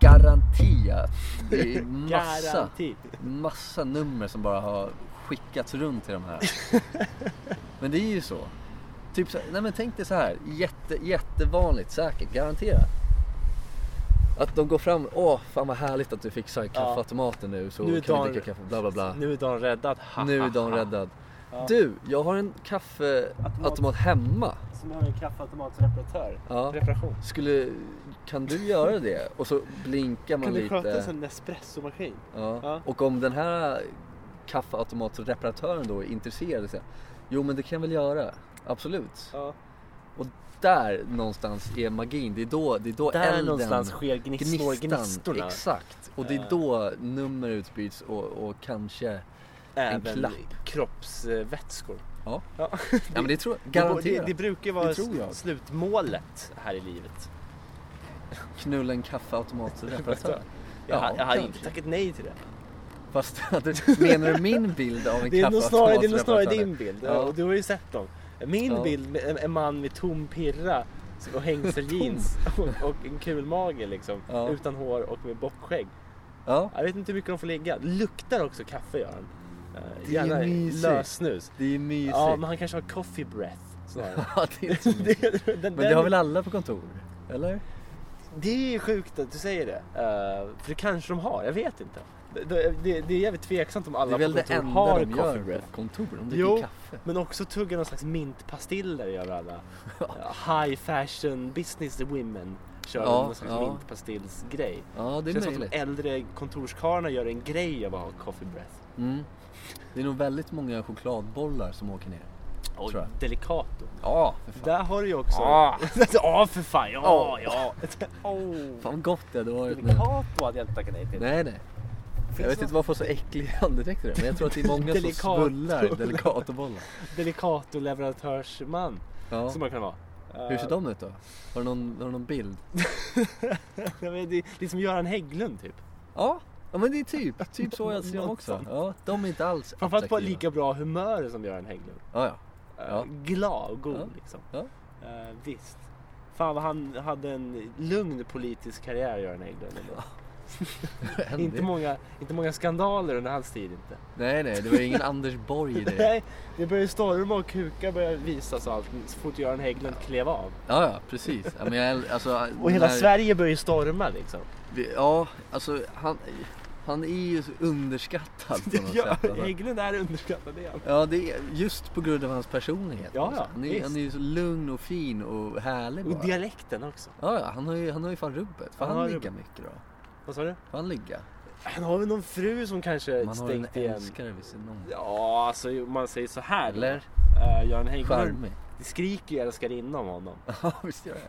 Garanti att det är
[LAUGHS]
massa,
Garanti.
massa nummer som bara har skickats runt till
[LAUGHS]
de här. Men det är ju så. Typ så, nej men tänk dig så här, jätte, jättevanligt säkert, garanterat. Att de går fram, åh fan vad härligt att du fixar kaffeautomaten nu så
Nu är
kan vi
dagen-
dricka kaffe, bla bla bla.
Nu är Dan räddad. Ha,
Nu är
ha,
de
ha.
räddad.
Ja.
Du, jag har en kaffeautomat hemma.
Som har en kaffeautomatsreparatör.
Ja.
Reparation.
Skulle, kan du göra det? Och så blinkar man
Kan du
lite.
sköta en sån Nespresso-maskin?
ja.
Ja.
Och om den här kaffeautomatreparatören då är intresserad så här, Jo men det kan jag väl göra, absolut.
Ja.
Och där någonstans är magin, det är då, det är då
Där
elden,
någonstans sker gnistor, gnistorna.
Exakt, och det är
Ja.
då nummer utbyts och, och
[LAUGHS]
kanske,
Även
klapp.
kroppsvätskor.
ja.
Ja.
ja men det tror jag,
Det, det,
garanterat.
det brukar ju vara
Det tror jag.
slutmålet här i livet.
Knulla en kaffeautomatreparatör.
Jag, ha- jag hade
kanske.
inte tackat nej till det.
Fast [LAUGHS] menar du min bild av en
Det är nog snarare, det är nog snarare
kaffeautomatreparatör?
din bild.
Ja.
Och du har ju sett dem. Min
Ja.
bild, med en, en man med tom pirra och
[LAUGHS]
hängseljeans och, och en kul mage liksom.
Ja.
Utan hår och med bockskägg.
Ja,
Jag vet inte hur mycket de får ligga. Luktar också kaffe gör han. Eh,
Det är
Gärna
mysigt.
lössnus.
det är mysigt.
Ja, men han kanske har coffee breath snarare.
Ja, det är inte så mysigt.
[LAUGHS] det, den,
[LAUGHS] Men det har väl alla på kontor? Eller?
Det är sjukt att du säger det. Eh, för det kanske de har, jag vet inte. Det, det, det är jävligt tveksamt om
Det är
alla
väl
på
det
kontor
enda
har
de
coffee
gör typ.
breath.
på kontor, de
Jo.
dricker kaffe.
Men också tugga någon slags mintpastiller gör alla. High fashion business women kör
Ja,
någon slags
ja.
mintpastillsgrej.
Ja, det
Det
är
känns som
möjligt.
att de äldre kontorskarlarna gör en grej av att ha coffee breath.
Mm. Det är nog väldigt många chokladbollar som åker ner.
Oj,
Tror jag.
Delicato.
Ja, för fan.
Där har du ju också...
Ah.
[LAUGHS] ja för fan, ja,
Ja.
ja. [LAUGHS] Oh.
Fan vad gott det hade varit med.
Delicato hade jag inte tackat nej till.
Nej, nej. Jag vet inte varför jag får så äcklig [LAUGHS] andedräkt i det, men jag tror att det är många som
Delicato. [LAUGHS]
svullar Delicatobollar.
Delicato-leverantörsman
Ja.
som man kan vara.
Hur ser
Eh, [LAUGHS]
de ut då? Har du någon, har du någon bild?
jag vet, det är liksom Göran Hägglund typ.
Ja, ja men det är typ, typ så jag ser dem också.
Någonstans.
Ja, de är inte alls
Framförallt på
attraktiva.
lika bra humör som Göran Hägglund.
Ja, ja.
Eh,
Ja.
Glad och god
Ja.
liksom.
Ja.
Eh, visst. Fan vad han hade en lugn politisk karriär Göran Hägglund. ändå.
[LAUGHS] En
Inte
del.
många, inte många skandaler under hans tid inte.
Nej, nej, det var ju ingen Anders Borg i det.
[LAUGHS] Nej, det började storma och kukar började visas och allt så fort Göran Hägglund klev av.
Ja, ja, precis. Ja, men jag, alltså,
Och hela
när-
Sverige började storma [LAUGHS] liksom.
vi- Ja, alltså han, han är ju så underskattad på
[LAUGHS]
något
Ja,
sätt. Alltså.
Hägglund är underskattad igen.
Ja, det är just på grund av hans personlighet.
Ja,
alltså.
ja,
han, är,
visst.
han är ju så lugn och fin och härlig
Och
bara.
dialekten också.
Ja, ja, han har ju, han har ju fan rubbet. Får
Han
han,
har
ligga mycket då?
Vad sa du?
Får han ligga?
Han har väl någon fru som kanske
Man har en
stängt igen.
älskare vid sin namn.
Ja, alltså om man säger så här.
Eller?
Uh, Göran Hägglund.
Charmig.
Det skriker ju älskarinna om honom.
[LAUGHS] Ja, visst gör jag.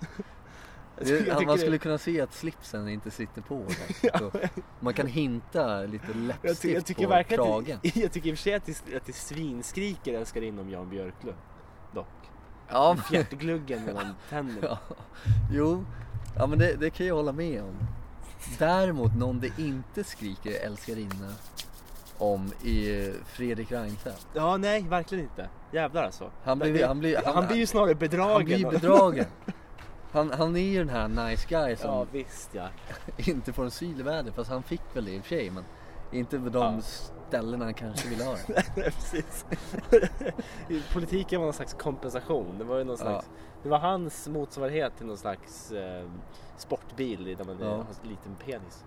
Jag
det.
tycker- jag
han- Man
tycker
skulle kunna se att slipsen inte sitter
[LAUGHS]
på. ordentligt. Och Man kan hinta lite
Jag,
läppstift
ty- jag tycker
på
verkligen att
kragen.
det, [LAUGHS] jag tycker i och för sig att det, att det svinskriker älskarinna om Jan Björklund. Dock.
Ja, men,
Fjärtgluggen mellan tänderna.
[LAUGHS] ja. Jo, ja, men det, det kan jag hålla med om. Däremot någon det inte skriker älskarinna om är Fredrik Reinfeldt.
Ja, nej, verkligen inte. Jävlar alltså.
Han
Det-
blir,
det-
han blir, han,
han blir ju snarare bedragen.
han blir
[LAUGHS]
ju bedragen. Han, han är ju den här nice guy som
Ja, visst ja.
inte får en sylvärde. Fast han fick väl det i och för sig. Men inte på de
Ja.
ställena han kanske ville ha det.
[LAUGHS]
[LAUGHS]
Precis. I Politiken var någon slags kompensation. Det var ju någon slags, det var hans motsvarighet till någon slags eh, sportbil där man
Ja.
har en liten penis.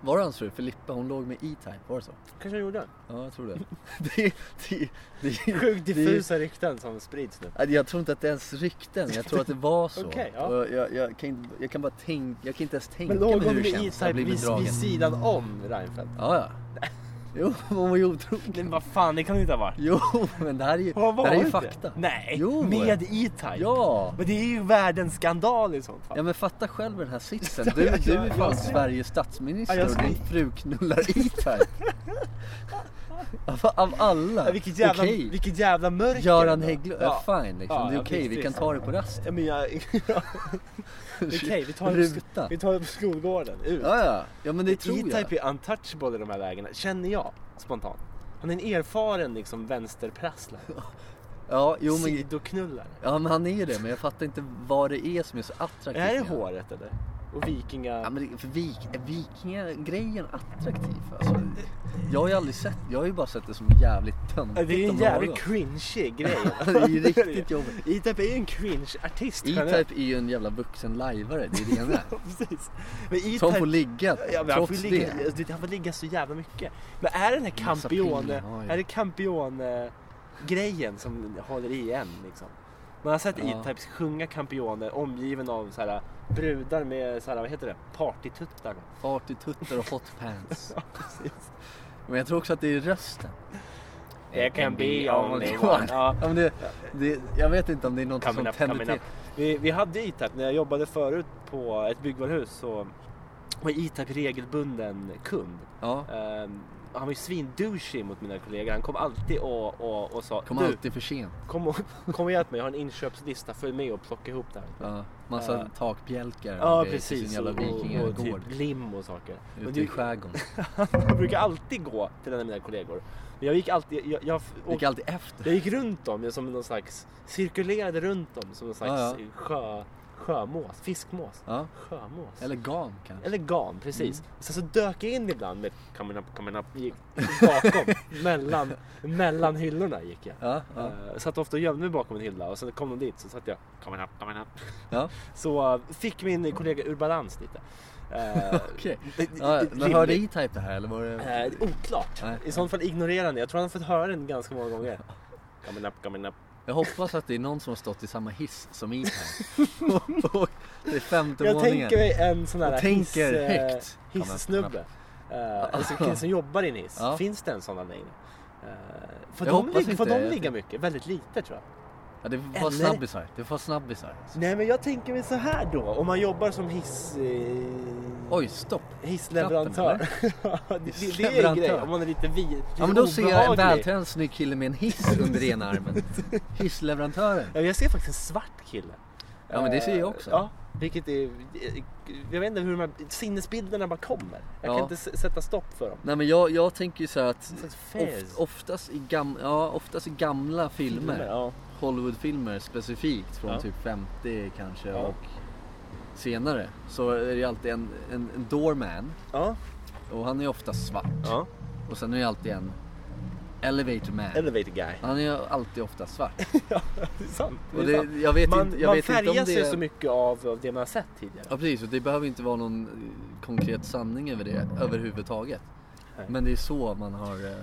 Var det hans fru Filippa? Hon låg med E-Type, var det så?
Kanske han gjorde.
Ja, jag
[LAUGHS]
tror det. det, det, det,
Sjukt
det-
diffusa rykten som sprids nu.
Nej, Äh, Jag tror inte att det är ens rykten, jag tror att det var så.
Okej, ja.
Och jag, jag, kan, inte- jag kan bara tänka, jag kan inte ens tänka
Men
mig
låg
hur
hon
det
med
känns att
E-Type
bli
typ vid,
bedragen.
vid sidan om Reinfeldt?
Ja, ja.
[LAUGHS]
Jo, [LAUGHS] hon var ju otrogen.
Nej, men vad fan, det kan det inte ha varit.
Jo, men det här är ju,
Har hon
det här är ju
varit det?
fakta.
Nej,
Jo.
med E-Type.
Ja!
Men det är ju världens skandal i sånt fall.
Ja men fatta själv den här sitsen.
Ja,
Du,
jag-
du är
jag-
fan
jag-
Sveriges
Ja,
statsminister
jag-
och din fru
[LAUGHS]
knullar E-Type. av, av alla!
Ja, vilket, jävla,
Okej.
vilket jävla mörker.
Göran
ändå.
Hägglund,
Ja.
ja. fine liksom.
Ja,
det är
ja,
okej,
visst,
vi kan
visst.
ta det på rast.
Ja, men jag... Okej, vi tar det på,
Ruta.
[LAUGHS] vi tar det på skolgården. Ut.
Ja, ja. ja men det tror jag.
E-Type är untouchable i de här lägena, känner jag spontant. Han är en erfaren liksom vänsterprasslare.
Ja, jo, men,
Sidoknullare.
ja, men han är ju det. Men jag fattar inte vad det är som är så attraktivt.
Är det
med honom.
håret eller? Och vikinga...
Ja, men det- för vik, är vikingagrejen attraktiv? Alltså, jag har ju aldrig sett, jag har ju bara sett det som jävligt
Ja,
töntigt
det är en
om
jävligt
något.
cringeig
[LAUGHS]
grej.
Det
[LAUGHS]
är ju riktigt jobbigt.
E-Type är ju en cringe-artist. generellt.
E-Type är ju en jävla vuxen lajvare, det är det han är.
[LAUGHS] Precis. Men E-Type...
Som får ligga
Ja, men han, får
trots
ju ligga,
det.
alltså, han får ligga så jävla mycket. Men är den här
Massa
Campione,
piller, ja, ja.
är det Campione-grejen som håller i en liksom? Man har sett
Ja.
E-Types sjunga Campione omgiven av så här, brudar med så här, vad heter det? partytuttar. [LAUGHS]
Partytuttar och hot pants. Men jag tror också att det är rösten.
It can be only one. Ja.
Ja, men det, det, jag vet inte om det är något
Coming
som
up,
tänder
coming
till.
up. Vi, vi hade E-Type, när jag jobbade förut på ett byggvaruhus så var E-Type regelbunden kund.
Ja,
Ehm, han var ju svindouchig mot mina kollegor. Han kom alltid och, och, och sa
kom
"Du,
alltid för sent.
Kom och, [LAUGHS] kom och hjälp mig, jag har en inköpslista. Följ med och plocka ihop det här.
Ja, massa
Ja.
takbjälkar
Eh. Ja
och grejer till
precis,
sin jävla
och, och, och
vikingagård
typ lim och saker. Men
ute i
du,
skärgården.
jag brukar alltid gå till en av mina kollegor. Men jag gick alltid, jag, jag,
Gick
och,
alltid efter.
jag gick runt dem jag som någon slags, cirkulerade runt dem som någon slags eh,
Ja,
sjö, sjömås, fiskmås,
Ja,
sjömås.
eller gam kanske.
Eller gam, precis. Sen så dök jag in ibland med coming up, coming up, gick bakom, mellan, mellan hyllorna gick jag.
Ja, ja,
Eh, Satt ofta och gömde mig bakom en hylla och sen kom de dit så satt jag coming up, coming up.
ja.
Så eh, fick min kollega ur balans lite. Eh,
Okej.
det- det-
Ja,
det-
men hörde
rimligt.
E-Type det här eller var det?
Eh, det är oklart.
Nej.
I sånt fall ignorerar ni. Jag tror han har fått höra den ganska många gånger. Coming up, coming up.
Jag hoppas att det är någon som har stått i samma hiss
[LAUGHS]
som E-Type. Och- och det är femte
Jag
våningen.
tänker mig en sån här
Och tänker
eh,
högt.
hissnubbe. Eh, alltså en kille som jobbar i en hiss.
Ja.
Finns det en sån anläggning? Eh, får
Jag
de,
hoppas
ligga, får
inte.
de ligga mycket? Väldigt lite tror jag.
Ja, det var
Eller-
snabbisar. Det var snabbisar.
Nej men jag tänker väl så här då, om man jobbar som hiss... Eh,
Oj, stopp.
hissleverantör. [LAUGHS] det, det, det är en grej,
Hissleverantör.
om man är lite, vi, lite
Ja, men då ser jag en
obehaglig.
vältränad snygg kille med en hiss under
[LAUGHS]
ena armen. Hissleverantören.
Ja, jag ser faktiskt en svart kille.
Ja, men det ser jag
Eh,
också.
Ja, vilket är... Jag vet inte hur de här sinnesbilderna bara kommer. Jag kan
Ja.
inte s- sätta stopp för dem.
Nej men jag, jag tänker ju så här att
Någon slags fez.
oft, oftast, i gam, ja, oftast i gamla filmer,
Ja.
Hollywoodfilmer specifikt från
Ja.
typ 50 kanske
Ja.
och senare så är det ju alltid en, en, en doorman
Ja.
och han är ju oftast svart
ja.
och sen är det ju alltid en elevator man.
Elevator guy.
Han är ju alltid ofta svart.
Det är sant. Det är
Och det,
sant.
jag vet
man
inte, jag
man
vet
färgar
inte om det...
sig så mycket av, av det man har sett tidigare.
Ja precis, och det behöver inte vara någon eh, konkret sanning över det överhuvudtaget.
Nej.
Men det är så man har... eh, [LAUGHS]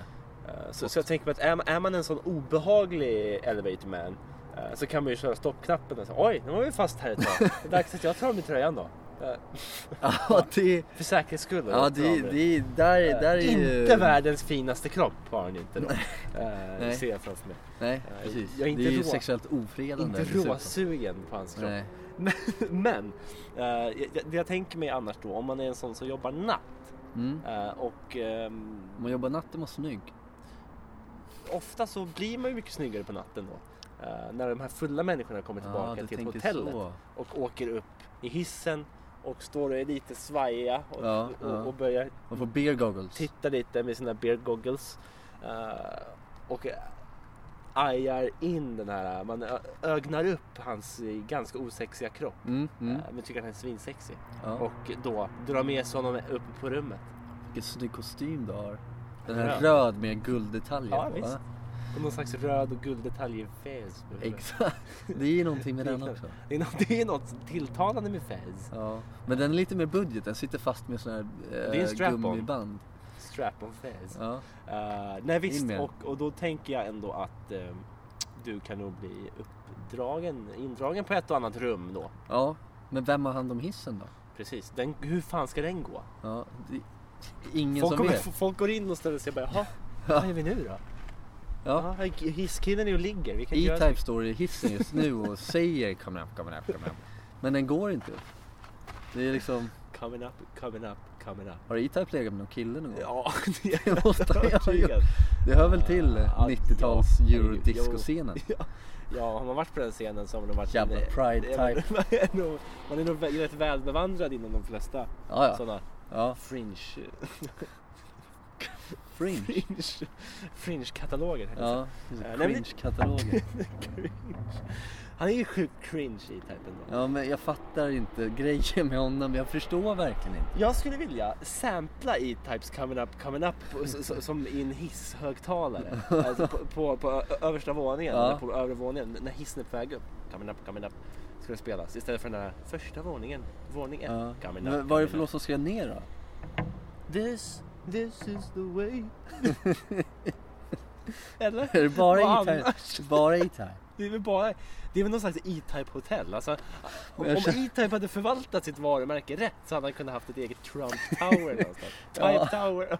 Eh, Så, så jag tänker mig att är man, är man en sån obehaglig elevator man eh, så kan man ju köra stoppknappen och säga oj, nu var vi fast här ett
[LAUGHS]
tag. Det är dags att jag tar av mig tröjan då. Eh,
Ja, det,
För säkerhets skull. då.
ja,
Jag tar av
det,
mig den.
det, där,
Eh,
där är ju...
Inte världens finaste kropp har han inte då. Eh, Det
Nej.
ser jag framför mig.
Nej,
Nej,
precis.
jag är inte
det är ju
rå-
sexuellt ofredande.
Inte
dessutom.
råsugen på hans kropp.
Nej.
[LAUGHS] Men eh, jag- jag- det jag tänker mig annars då, om man är en sån som jobbar natt
Mm.
eh, och ehm,
Om man jobbar natt är man snygg.
ofta så blir man ju mycket snyggare på natten då. Eh, när de här fulla människorna kommer tillbaka
du
till
tänker
hotellet
så.
och åker upp i hissen och står och är lite svajiga och,
Ja,
och,
ja.
och börjar
Man får beer goggles.
titta lite med sina beer goggles. eh, och ajar in den här, man ö- ögnar upp hans eh, ganska osexiga kropp.
Mm, mm.
eh, Men tycker att han är svinsexig.
Ja.
Och då drar med sig honom upp på rummet.
Vilken snygg kostym du har. Den här
Röd.
röd med gulddetaljer.
Ja,
på,
visst.
va?
Och någon slags röd och gulddetalj i fez.
Exakt. Det är ju någonting med den också.
Det är något, [LAUGHS] det är något tilltalande med fez.
Ja. Men den är lite mer budget. Den sitter fast med sån här
är en
eh,
strap-on.
gummiband.
Strap on fez.
Ja.
Eh, nej visst,
In med.
och, och då tänker jag ändå att eh, du kan nog bli uppdragen, indragen på ett och annat rum då.
ja. Men vem har hand om hissen då?
Precis, den, hur fan ska den gå?
Ja. Det... Ingen
Folk,
som
kommer,
vet.
[LAUGHS] folk går in och ställer sig och bara,
[LAUGHS]
jaha, vad gör vi nu då?
Ja.
Ja. hisskillen är och ligger, vi kan inte göra
E-Type står i hissen just nu och säger kom upp, kom upp, kom upp. Men den går inte upp. Det är liksom,
Coming up, coming up, coming up.
har E-Type legat med någon kille någon gång?
Ja, [LAUGHS] det är
[LAUGHS] Det måste han ju ha gjort.
övertygad.
Det hör väl till
Ja,
90-tals
ja, herregud,
eurodisco-scenen?
Ja, har man varit på den scenen så har man nog varit...
Jävla
en-
pride
Ja, men- [LAUGHS] Man är nog, man är nog vä- rätt välbevandrad inom de flesta
Ja, ja.
sådana
ja.
fringe... [LAUGHS]
Fringe.
Fringe... Fringe-kataloger. heter det
Ja,
Eh, nej, men-
cringe-kataloger.
så. Cringe. Han är ju sjukt cringe i typen då.
Ja, men jag fattar inte grejen med honom. Jag förstår verkligen inte.
Jag skulle vilja sampla E-Types Coming Up Coming Up på- s- s- som i en
[LAUGHS]
hisshögtalare. Alltså på, på, på ö- översta våningen,
Ja.
eller på övre våningen, när hissen är på väg upp. Coming Up Coming Up ska det spelas istället för den här första våningen, våning ett.
Ja.
Coming up,
Men vad är det
coming
för
up.
låt som ska ner då?
This, this is the
[LAUGHS]
way. Eller?
Är det bara
Vad
E-Type?
annars?
Bara E-Type?
Det är väl bara, det är väl någon slags E-Type hotell. Alltså, om
Men jag känner-
E-Type hade förvaltat sitt varumärke rätt så hade han kunnat haft ett eget Trump
[LAUGHS]
Tower någonstans. Type
Ja.
Tower.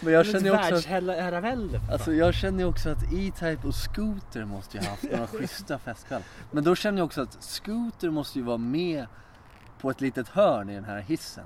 Men jag känner ju också att
Världsherravälde.
Alltså jag känner ju också att E-Type och Scooter måste ju ha
[LAUGHS]
haft några schyssta festkvällar. Men då känner jag också att Scooter måste ju vara med på ett litet hörn i den här hissen.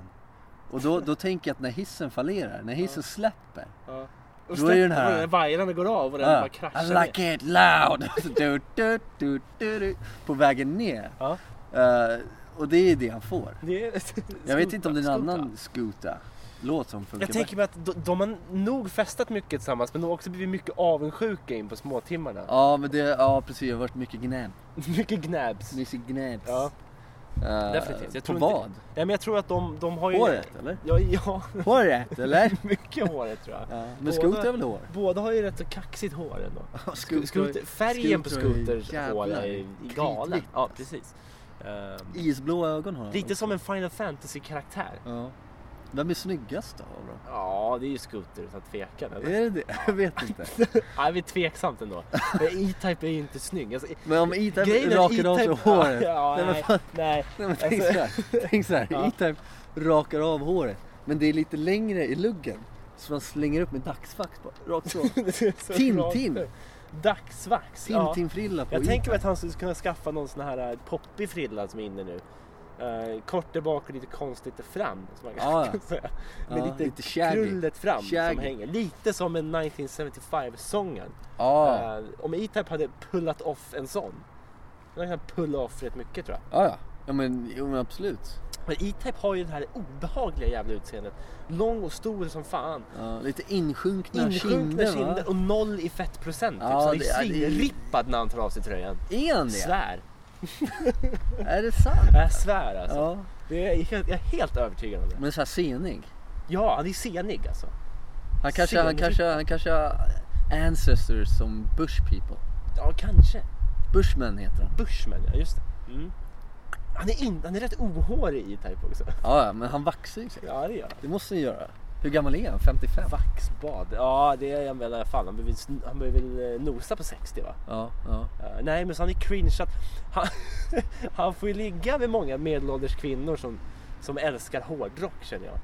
Och då, då tänker jag att när hissen fallerar, när hissen släpper.
Ja.
är
Och
det ju den här-
släpper vajrarna går av och den
ah,
bara kraschar
I
ner.
like it loud! [LAUGHS] du, du, du, du, du, på vägen ner.
Ja.
Eh, och det är det han får.
Det är...
Jag vet inte om det är en
Skoda.
annan Scooter-låt som funkar
Jag tänker mig att de, de har nog festat mycket tillsammans men de har också blivit mycket avundsjuka in på småtimmarna.
Ja, men det, ja precis. Det har varit mycket gnäll.
Mycket gnäbs.
Mycket gnäll.
Ja.
Eh,
Definitivt. Jag
på
tror inte-
vad?
Nej men jag tror att de, de har ju...
Håret eller?
Ja, ja, [LAUGHS]
Håret eller?
mycket håret tror jag.
Men
Båda-
Scooter har väl hår?
Båda har ju rätt så kaxigt hår ändå.
Scooter-
Scooter, färgen på
Scooter är
Scooters hår
jävlar
är galen.
kritvitt.
Ja, precis. Ehm,
Isblå ögon har han.
lite som en Final Fantasy-karaktär.
Ja. Vem är snyggast då av dem?
Ja, det är ju Scooter utan tvekan. Eller?
Är det [LAUGHS] det? Jag
[LAUGHS]
vet inte.
Nej, vi är tveksamt [LAUGHS] ändå. Men E-Type är ju inte snygg. Alltså,
Men om E-Type
grejen är att
rakar av sig
E-Type-
håret.
[LAUGHS] Ja,
nej, men
nej,
fan,
[LAUGHS] nej.
nej, men tänk
Alltså-
så här. Tänk så här.
Ja.
E-Type rakar av håret. Men det är lite längre i luggen. Så man slänger upp med dagsfax bara. Rakt så.
Det är så
Tintin.
rakt. Dagsvax. [LAUGHS] Ja.
Tintin-frilla på E-
Jag
Ica.
tänker mig att han skulle kunna skaffa någon sån här eh, poppig frilla som är inne nu. Eh, kort där bak och lite konstigt där fram. Som man
Ja,
kan
ja.
[LAUGHS] säga.
Ah, Ja,
Med lite,
lite shaggy.
krullet fram som
Shaggy.
hänger. Lite som en 1975-sångaren.
Ja,
Eh, om E-Type hade pullat off en sån. Den hade kunnat pulla off rätt mycket tror jag.
ja, ja. ja men, jo, men absolut.
Men E-Type har ju det här obehagliga jävla utseendet. Lång och stor som fan.
Ja, lite insjunkna,
Insjunkna
kinder, va?
kinder och noll i fettprocent.
Ja,
typ. Så
det-
det är
ja, det är-
svinrippad när han tar av sig tröjan.
Är han det?
Svär.
Är det sant?
Jag svär alltså.
Ja.
Det är, jag är helt- jag är helt övertygad om det.
Men så här senig.
Ja, han är senig alltså.
Han kanske, han
Senig.
kanske, han kanske har ancestors som bush people.
Ja, kanske.
Bushmen heter han.
Bushman, ja just det. Mm. Han, är in, han är rätt ohårig i Type också.
Ja, ja, men han vaxar ju sig.
Ja, det gör han.
Det måste han göra. Hur gammal är han? 55?
Vaxbad. Ja, det är han väl i alla fall. Han behöver, sn- han behöver väl eh, nosa på 60 va?
Ja, ja.
Eh, nej, men så han är cringe så att han, [LAUGHS] han får ju ligga med många medelålders kvinnor som, som älskar hårdrock känner jag.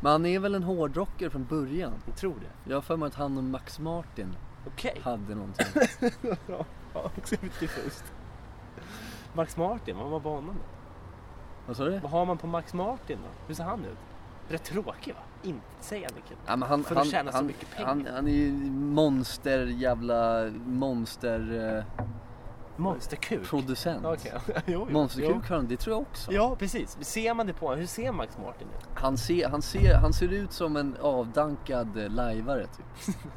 Men han är väl en hårdrockare från början?
Jag tror det.
Jag har för mig att han och Max Martin
Okej.
hade någonting.
[LAUGHS] Ja, också lite diffust. Max Martin, vad var på honom då?
Vad sa du?
Vad har man på Max Martin då? Hur ser han ut? Rätt tråkig va? Intetsägande kille.
Ja, men han,
För att
han,
tjäna så
han,
mycket pengar.
Han, han är ju monster jävla monster eh,
Monsterkuk.
producent.
Okej. [LAUGHS] jo, jo.
Monsterkuk har han, det tror jag också.
Jo. Ja precis. Ser man det på honom? Hur ser Max Martin ut?
Han, ser, han, ser, han ser ut som en avdankad eh, lajvare typ.
[LAUGHS]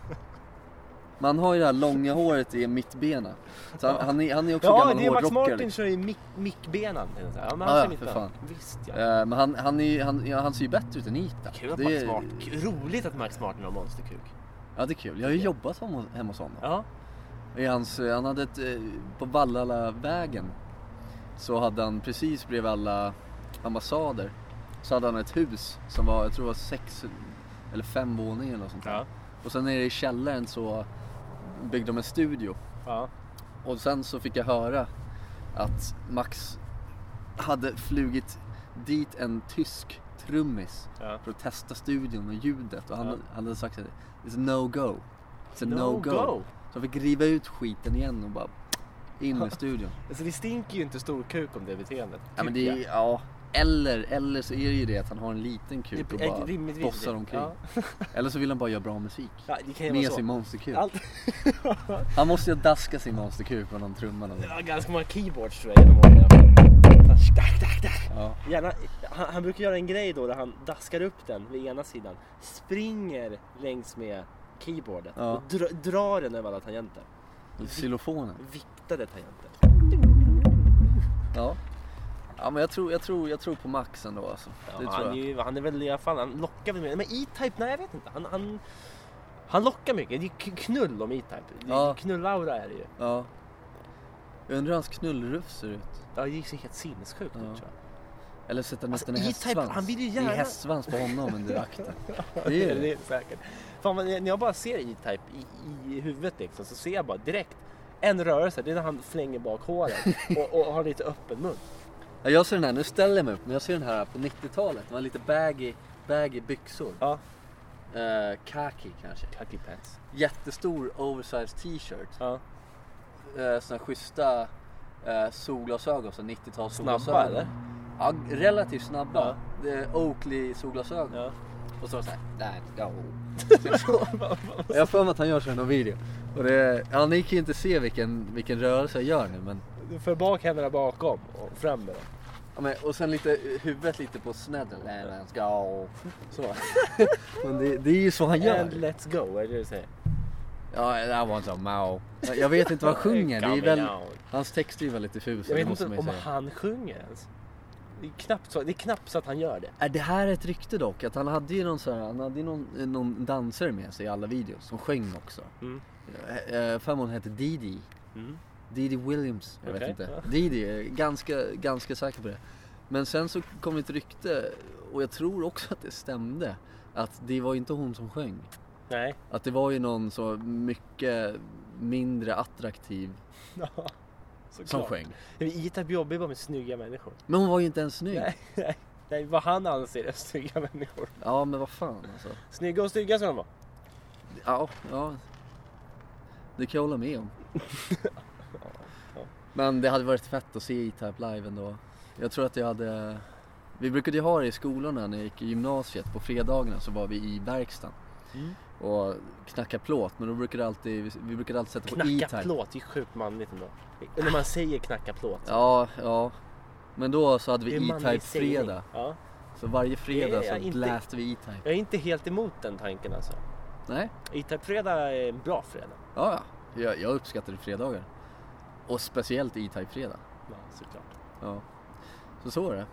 Man har ju det här långa håret i mittbena. Så han, han, är, han är också
Ja,
gammal
det är Max
hårdrockare.
Martin
liksom.
kör ju mick, mickbenan. kan jag säga. Ja, men
Ja,
han
ja,
kör
för
mittbenan. Visst ja.
Eh, Men han, han, är, ju- han, ja, han ser ju bättre ut än Ita.
Kul att
Det
Max
är-
Martin... kul- Roligt att Max Martin har monsterkuk.
Ja, det är kul. Jag har ju jobbat hemma hemma hos honom.
Ja.
I hans, han hade ett, eh, på Vallalavägen så hade han precis bredvid alla ambassader så hade han ett hus som var, jag tror det var sex eller fem våningar eller något sånt där.
Ja.
Och sen nere i källaren så byggde de en studio
ja.
och sen så fick jag höra att Max hade flugit dit en tysk trummis
Ja.
för att testa studion och ljudet och han,
Ja.
han hade sagt att it's no go. It's a no,
No
go.
go.
Så jag fick riva ut skiten igen och bara in
[LAUGHS]
med studion.
Alltså det stinker ju inte storkuk om det beteendet.
ja, men
tycker
det
jag.
är, ja, eller, eller så är det ju det att han har en liten kuk
Det
och
är
bara
rimligtvis
bossar
det.
omkring.
Ja.
Eller så vill han bara göra bra musik.
Ja, det kan ju
Med
vara så.
sin monsterkuk.
Allt...
Han måste ju daska sin monsterkuk med någon trumma någon gång.
Ja, ganska många keyboards tror jag genom åren i alla fall. Tack, tack, tack.
Ja.
Gärna, han, han brukar göra en grej då där han daskar upp den vid ena sidan, springer längs med keyboardet
Ja.
och dr, drar den över alla tangenter.
Xylofonen.
Viktade tangenter.
Ja. Ja men jag tror, jag tror, jag tror på Max ändå alltså.
Ja,
det
han,
tror jag.
Är ju, han är väl i alla fall, han lockar väl mer. Men E-Type, nej jag vet inte. Han, han, han lockar mycket. Det är k- knull om E-Type. Det är
Ja.
Knullaura är det ju.
Ja. Jag undrar hur hans knullrufs ser ut.
Ja, det gick så helt sinnessjukt ut
Ja.
tror jag.
Eller sätta nästan
Alltså,
en
E-Type,
hästsvans.
han vill ju
Det
gärna-
är hästsvans på honom men
[LAUGHS]
du akta. Det är det.
är säkert. Fan, vad- när jag bara ser E-Type i, i huvudet liksom, så ser jag bara direkt en rörelse. Det är när han flänger bak håret och, och har lite öppen mun.
Ja, jag ser den här, nu ställer jag mig upp, men jag ser den här på 90-talet. Man lite baggy, baggy byxor.
Ja.
Eh, khaki kanske.
Tucky pants.
Jättestor oversized t-shirt.
Ja.
Uh, såna här schyssta eh, solglasögon, så 90-tals
Snabba,
solglasögon.
eller?
Ja, relativt snabba. Det är Oakley solglasögon.
Ja.
Och så var det såhär, där, ja.
[LAUGHS]
jag har för mig att han gör så i någon video. Och det, ja, ni kan ju inte se vilken, vilken rörelse jag gör nu men
Du för bak händerna bakom och fram med dem.
Ja, men, och sen lite, eh, huvudet lite på snedden. Nej, men ska och så. men det, det är ju så han
And
gör.
let's go, är det det du säger?
Ja, det där var inte så mao. Jag vet inte vad han sjunger. Det är väl,
Coming out.
hans text är ju väldigt diffus.
Jag
det
vet
måste
inte
man ju
om
säga.
han sjunger ens. Det är, knappt så, det är knappt så att han gör det.
Är Äh, det här ett rykte dock? Att han hade ju någon, så här, han hade ju någon, eh, någon dansare med sig i alla videos som sjöng också.
Mm.
Eh, eh, För mig hon hette Didi.
Mm.
Didi Williams. Jag
Okej,
vet inte.
ja.
Didi, jag är ganska, ganska säker på det. Men sen så kom det ett rykte och jag tror också att det stämde. Att det var ju inte hon som sjöng.
Nej.
Att det var ju någon så mycket mindre attraktiv som sjöng.
E-Type jobbar ju bara med snygga människor.
Men hon var ju inte ens snygg.
Nej, nej. Nej, vad han anser är snygga människor.
Ja men vad fan alltså.
Snygga och stygga som de var.
Ja, ja. Det kan jag hålla
[LAUGHS]
med om.
ja.
Men det hade varit fett att se E-Type live ändå. Jag tror att jag hade... Vi brukade ju ha det i skolorna när jag gick i gymnasiet. På fredagarna så var vi i verkstaden
Mm.
och knackade plåt. Men då brukade alltid, vi brukade alltid sätta på
Knacka
E-Type.
plåt, det är sjukt manligt ändå. När man säger knacka plåt.
Ja, ja. Men då så hade
Det
vi
är en
E-Type
manlig sägning.
fredag.
Ja.
Så varje fredag
Det är jag
så
inte-
bläste vi E-Type.
Jag är inte helt emot den tanken alltså.
Nej,
E-Type-fredag är en bra fredag.
ja, ja. Jag, jag uppskattade fredagar. Och speciellt E-Type fredag.
Ja, såklart.
Ja. Så så är det.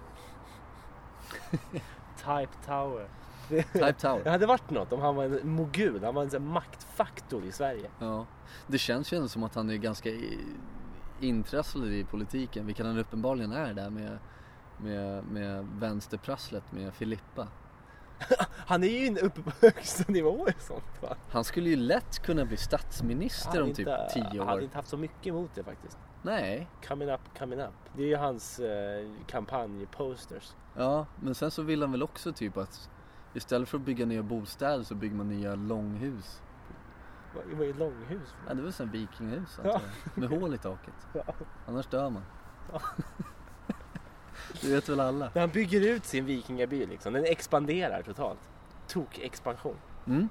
Type Tower.
Type
Det [LAUGHS]
Tower.
hade varit något om han var en mogul, han var en sån här maktfaktor i Sverige.
Ja. Det känns ju ändå som att han är ganska i- intrasslad i politiken, vilket han uppenbarligen är där med, med, med vänsterprasslet med Filippa.
Han är ju inne uppe på högsta nivå i sånt va?
Han skulle ju lätt kunna bli statsminister
hade
om typ
inte-
10
hade
år.
inte haft så mycket emot det faktiskt.
Nej,
Coming up, coming up. Det är ju hans eh, kampanjposters.
ja, men sen så vill han väl också typ att istället för att bygga nya bostäder så bygger man nya långhus.
Vad vad är långhus? för
Ja,
något?
det var sån vikingahus
Ja.
antar jag. Med hål i taket.
Ja.
Annars dör man. [LAUGHS] Det vet väl alla?
När han bygger ut sin vikingaby liksom, den expanderar totalt. Tok-expansion.
Mm.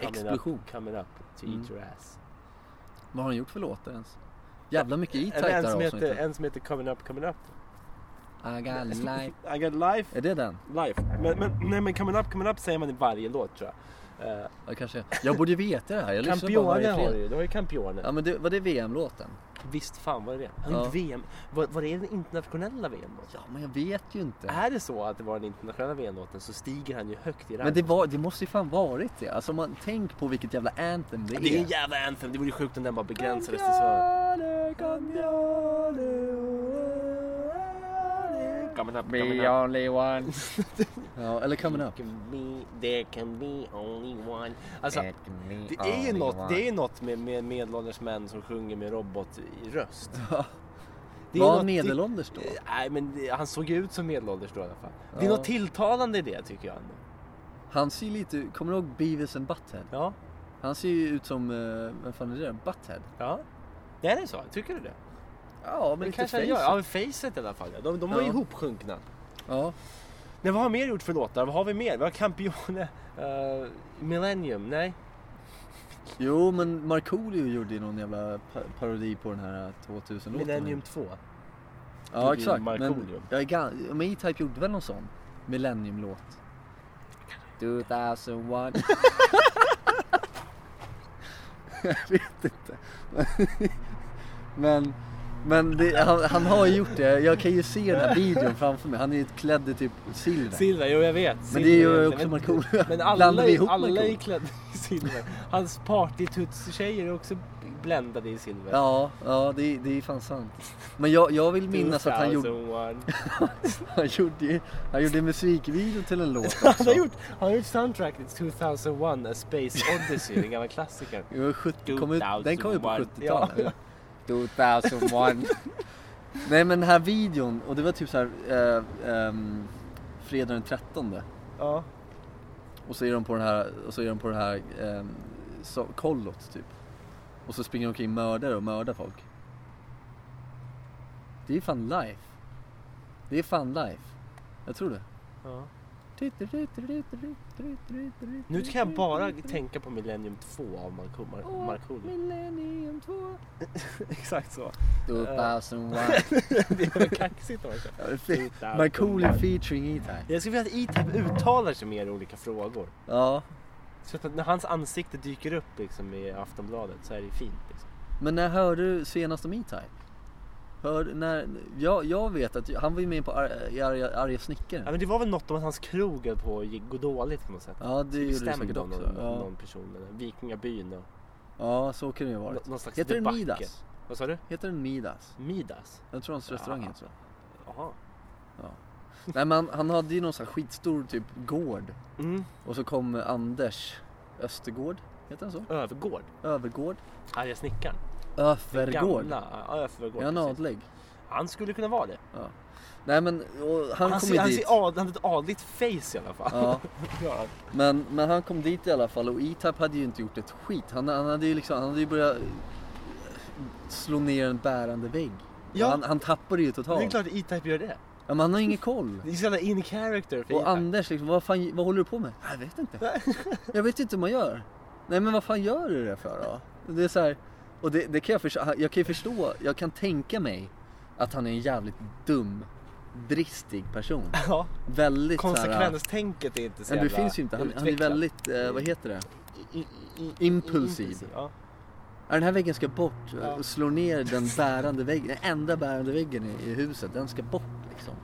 Coming
Explosion.
Up, coming up to
Mm.
eat your ass.
Vad har han gjort för låtar ens? Jävla mycket E-Type
Eller
det
en
här
som, heter,
avsnittet.
en som heter Coming up, coming up.
I got life.
I got life.
Är det den?
Life. Men, men, nej men coming up, coming up säger man i varje låt tror jag. Eh,
Ja, kanske. Jag borde ju veta det här. Jag lyssnar på
Campione
varje
har du
fredag.
ju, du har ju Campione.
Ja men det, var det VM-låten?
Visst fan var det det? Han
Ja.
gjorde VM. Var, var det den internationella VM då?
Ja men jag vet ju inte.
Är det så att det var den internationella VM-låten så stiger han ju högt i rang.
Men det, var, det måste ju fan varit det. Alltså om man tänk på vilket jävla anthem det är.
Det är en jävla anthem, det vore ju sjukt om den bara begränsades till så. Coming up, coming up.
only [LAUGHS] one. ja, eller coming up.
Can be, there can be only one. Alltså,
Eh,
det är ju något, det är ju något med, med medelålders män som sjunger med
[LAUGHS]
robotröst. Det är
Var
något-
han medelålders då?
Eh, Nej, men det- han såg ju ut som medelålders då i alla fall. Det är
Ja.
något tilltalande i det tycker jag. ändå.
Han ser ju lite, kommer du ihåg Beavis and Butthead?
Ja.
Han ser ju ut som, eh, vem fan är det där? Butthead?
Ja. Det är det så? Tycker du det?
Ja, men
Det
lite
kanske han
face.
gör. Ja, men facet i alla fall. ja. De, de var ju
Ja.
ihopsjunkna.
Ja.
Nej, vad har vi mer gjort för låtar? Vad har vi mer? Vi har Campione, eh, Millennium, nej?
Jo, men Markoolio gjorde ju någon jävla pa- parodi på den här 2000-låten.
Millennium 2.
Ja, exakt.
Markoolio.
Men, jag är ga- men E-Type gjorde väl någon sån Millennium-låt? [LAUGHS] 2001. jag vet inte. men men det, han, han har ju gjort det. Jag kan ju se den här videon framför mig. Han är ju klädd i typ silver.
Silver, jo jag vet.
Men
Silver
det är ju
egentligen.
också
Men-
Markoolio.
[LAUGHS] Men alla,
Blandar vi
är-
ihop
alla är
Markoolio?
klädda i silver. Hans partytuts-tjejer är också bländade i silver.
Ja, ja det, är- det är fan sant. Men jag, jag vill minnas att han
alltså-
gjorde,
[LAUGHS] 2001.
han gjorde, ju- han gjorde en musikvideo
[LAUGHS]
till en låt också.
Han har gjort, han har gjort soundtracket till 2001 A Space Odyssey, den gamla klassikern.
Det var 70, kom ut, den kom ju på
2001.
70-talet. 2001. Nej men den här videon, och det var typ så här, eh, ehm, fredag den 13.
[LAUGHS] Ja.
Och så är de på den här, och så är de på det här ehm, så, kollot typ. Och så springer de omkring mördare och mördar folk. Det är fan life. Det är fan life. Jag tror det.
ja. Nu kan jag bara tänka på Millennium 2 av Marko- Mar- Markoolio.
[LAUGHS] Millennium 2.
[LAUGHS] Exakt [LAUGHS] så.
2001.
Det är väl kaxigt också.
Markoolio featuring E-Type.
Jag skulle vilja att E-Type uttalar sig mer i olika frågor.
Ja,
Så att när hans ansikte dyker upp liksom i Aftonbladet så är det fint. Liksom.
men när hörde du senast om E-Type? Hör, när, jag, jag vet att han var ju med på Ar- i Arga, Arga
Ja,
Snickaren.
men det var väl något om att hans krog höll på att gå dåligt på något sätt.
Ja, det gjorde det säkert
någon,
också. Ja.
någon person. eller Vikingabyn och
ja, så kan det ju ha varit.
nå- någon slags
Heter den
debacle.
Midas?
Vad sa du?
Heter den Midas?
Midas?
Jag tror hans restaurang heter så.
Jaha.
Nej men han, han hade ju någon sån här skitstor typ gård.
Mm.
Och så kom Anders Östergård, heter han så?
Övergård.
Övergård?
Arga snickaren.
Övergård?
Gamla, ja, Övergård.
Är han
precis.
adlig?
Han skulle kunna vara det.
Ja. Nej men och han,
Han,
kom
ser,
ju
han,
dit.
ser ad, han har ett adligt face i alla fall. [LAUGHS]
Ja,
Gör han.
men, men han kom dit i alla fall och E-Type hade ju inte gjort ett skit. Han, han hade ju liksom, han hade ju börjat slå ner en bärande vägg.
Ja.
Ja. Han, han tappade ju
Det är
totalt.
klart att E-Type gör det.
Ja, men han har ingen koll.
Det är så jävla in character för E
Och
E-Type.
Anders liksom, vad, fan, vad håller du på med? Jag vet inte. Jag vet inte hur man gör. Nej men vad fan gör du det för då? Det är så här, och det, det kan jag, förstå, jag kan ju förstå, jag kan tänka mig att han är en jävligt dum, dristig person.
[LAUGHS] Ja,
Väldigt så här,
konsekvenstänket är inte så
Men
jävla
det finns ju inte, han, han är
utvecklat.
väldigt, eh, vad heter det?
I- i- i-
impulsiv.
Ja.
Ja, Den här väggen ska bort,
Ja.
och slår ner den bärande väggen, den enda bärande väggen i, i huset, den ska bort liksom.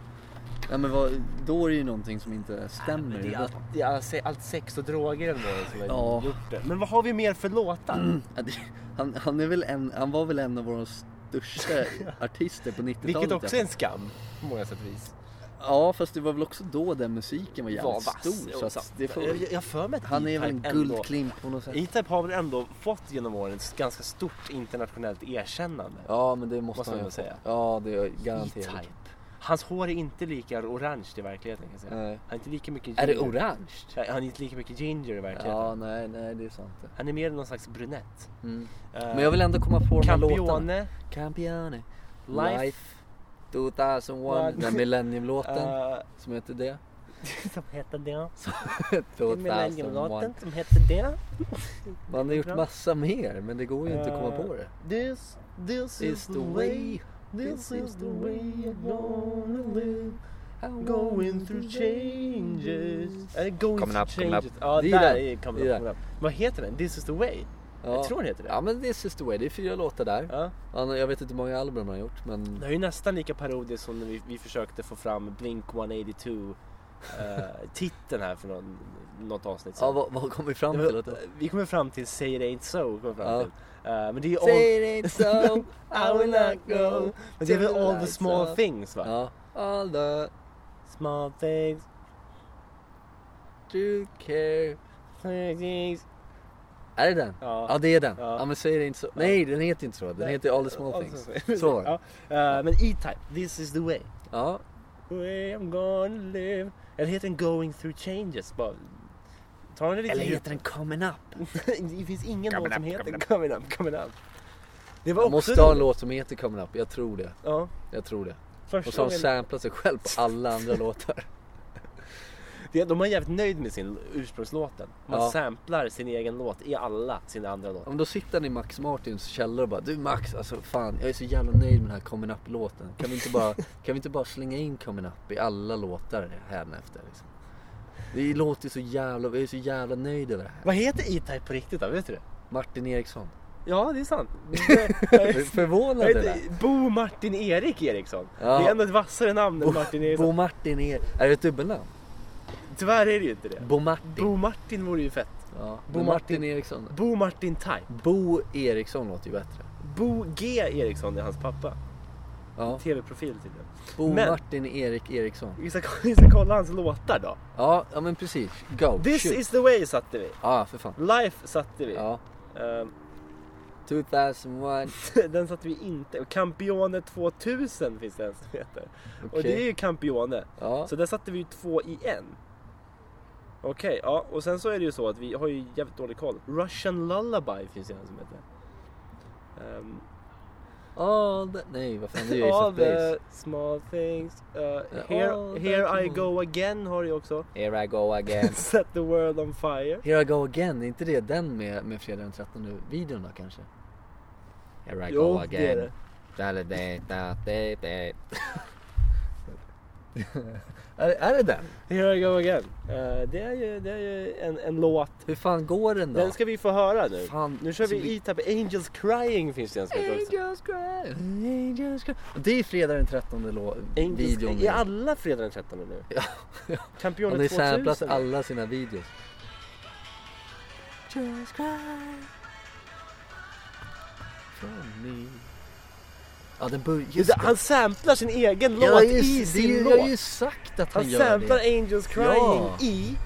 Ja, men vad, då är det ju någonting som inte stämmer.
Men det är
i botten.
allt, det är allt, allt sex och droger ändå som har
Ja. Mm.
gjort det. Men vad har vi mer för låtar?
[CLEARS THROAT] Ja, det- Han, han, är väl en, han var väl en av våra
[LAUGHS]
största artister på 90-talet.
Vilket
i alla
också är
fall.
en skam på många sätt och vis.
Ja, fast det var väl också då den musiken var jävligt
Var vass.
stor.
Jo,
Så
sant.
att det får,
jag, jag har för mig att
han är väl en
E-Type ändå-
guldklimp på något sätt.
E-Type har väl ändå fått genom åren ett ganska stort internationellt erkännande.
Ja, men det måste,
Måste
han
man
ju
säga.
säga. Ja, det är garanterat.
E-Type. Hans hår är inte lika orange i verkligheten kan jag säga.
Nej.
Han är inte lika mycket ginger.
Eh. Är det orange?
Nej, Han är inte lika mycket ginger i verkligheten.
Ja, nej, nej, det är sant. det.
Han är mer någon slags brunett.
Mm.
Eh,
Men jag vill ändå komma på de här låtarna.
Campione,
Campione.
Life.
Life 2001. Den Millennium-låten
eh, [LAUGHS]
som heter det.
som heter det.
2001.
som heter det.
Man har gjort massa mer men det går ju inte att komma
Eh,
på det.
This, this is the way, this is the way I'm gonna live. I'm going through changes. Är det going
Coming
through
up, coming up.
changes? Ja,
Det är
där
den.
är
Det
coming
är
up, coming up. Vad heter den? This is the way?
Ja.
Jag tror den heter det.
Ja men This is the way, det är fyra låtar där.
Ja.
Han- Jag vet inte hur många album han har gjort men
Det är ju nästan lika parodiskt som när vi, vi försökte få fram Blink 182 eh, titeln här för någon, något avsnitt
ja,
sedan.
vad, vad kom vi fram
Det
till?
var-
Att-
eh, vi kommer fram till Say it ain't so. Kommer vi fram
Ja.
till. Eh, men det är ju all,
Say it ain't
[LAUGHS]
so, I will not go.
men det är väl
till the
all the
lights
small
up.
things va?
Ja. All the
Small things,
true care.
things.
Är det den?
Ja.
Ja det är den.
Ja.
Ja men Say it ain't so. Nej den heter inte så. Den
Nej.
heter All the small
All
things.
the small-
Så
[LAUGHS]
var det.
ja. Eh, Men E-Type, this is the way.
Ja.
way I'm gonna live. Eller heter den Going through changes? Bara, ta den lite
Eller
djupt.
heter den Coming Up?
[LAUGHS] det finns ingen
Coming
låt som
up,
heter
coming up.
Coming Up, Coming Up. Det var
Man
också
måste ha en
roligt.
låt som heter Coming Up. Jag tror det.
Ja,
Jag tror det. Och så
första
har han
gången.
samplat sig själv på alla andra [LAUGHS] låtar.
Det- De var jävligt nöjd med sin ursprungslåten. Man
Ja.
samplar sin egen låt i alla sina andra låtar.
Om då sitter han i Max Martins källare och bara Du Max, alltså fan jag är så jävla nöjd med den här Coming Up-låten. Kan, vi inte [LAUGHS] bara- kan vi inte bara slänga in Coming Up i alla låtar hädanefter? Liksom? Det låter så jävla, jag är så jävla nöjd över det här.
Vad heter E-Type på riktigt då? Vet du det?
Martin Eriksson.
Ja, det är [LAUGHS] sant.
Är du Förvånad eller?
Bo Martin Erik Eriksson.
Ja.
Det är ändå ett vassare namn än
Bo-
Martin Eriksson.
Bo Martin är, är det ett dubbelnamn?
Tyvärr är det ju inte det.
Bo Martin.
Bo Martin vore ju fett.
ja.
Bo
Bo Martin.
Martin.
Eriksson.
Bo Martin Type.
Bo Eriksson låter ju bättre.
Bo G Eriksson är hans pappa.
Ja.
TV-profil tydligen.
Bo
Men-
Martin Erik Eriksson.
Vi ska, [LAUGHS] vi ska kolla hans låtar då.
Ja, ja men precis. Go.
This
shoot.
is the way satte vi.
Ja, för fan.
Life satte vi.
Ja.
Ehm, [LAUGHS]
2001.
den satte vi inte. Och Campione 2000 finns det en som heter. Och det är
Okej.
ju Campione.
Ja.
Så där satte vi ju två i en. Okej, ja. Och sen så är det ju så att vi har ju jävligt dålig koll. Russian Lullaby finns det en som heter. Ehm,
All the... Nej, vad fan det är ju Ace
all
of Base.
the small things. Uh,
all
here
that
here I
small-
go again har du ju också.
[LAUGHS] Here I go again.
[LAUGHS] Set the world on fire.
Here I go again, är inte det den med, med fredag den 13 nu? Videon då kanske? Here I go again.
det är det.
Da-da-da-da-da-da. är, är det den?
Here I go again. Eh, det är ju, det är ju en, en låt.
Hur fan går den då?
Den ska vi få höra nu.
Fan,
Nu kör
så
vi E-Type. Angels Crying finns det en som heter också.
Angels cry, angels cry. Det är fredag den 13 lå-
Angels
videon.
Crying. Är alla fredag den 13 nu?
Ja, ja.
Campione
Han har ju
2000.
samplat alla sina videos. Ja, den börjar...
Just det, han samplar sin egen
Ja,
låt
just
i
det,
sin
Jag har
låt.
ju sagt att han,
Han
gör
samplar
det.
Angels Crying
Ja.
i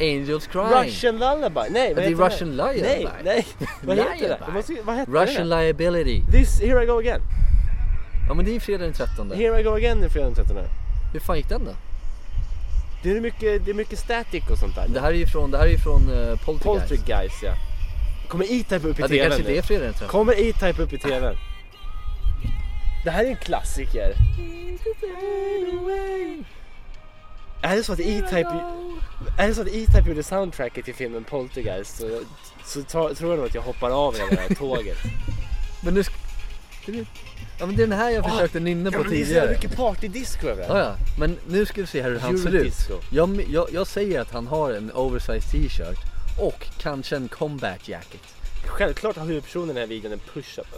Angels Crying.
Russian Lullaby. Nej,
Ja,
vad
det är
heter
Russian Lullaby.
Nej,
[LAUGHS]
nej. Vad heter det?
Lullaby.
det? Måste, ju- vad heter
Russian
det?
Liability.
This, Here I Go Again.
Ja men det är ju fredag den 13.
Here I go again i fredag den 13.
Hur fan gick den då?
Det är mycket, det är mycket static och sånt där.
Det här är ju från, det här är ju från eh, Poltergeist.
Poltergeist ja. Kommer E-Type upp i
Ja, det
TVn
kanske
nu?
inte är fredag den 13.
Kommer E-Type upp i TVn? Det här är en klassiker. Är det så att E-Type, är det så att E-Type gjorde soundtracket till filmen Poltergeist så, så ta, tror jag nog att jag hoppar av hela det här tåget.
Men nu... sk- det är- Ja men det är den här jag
Ah,
försökte nynna
Ja,
på
men det är så jävla
tidigare.
mycket partydisco över det
Ja,
här.
ja. Men nu ska vi se här hur han ser ut.
Eurodisco.
Jag, jag, jag säger att han har en oversized t-shirt och kanske en combat jacket.
Självklart har huvudpersonen i den här videon en push-up.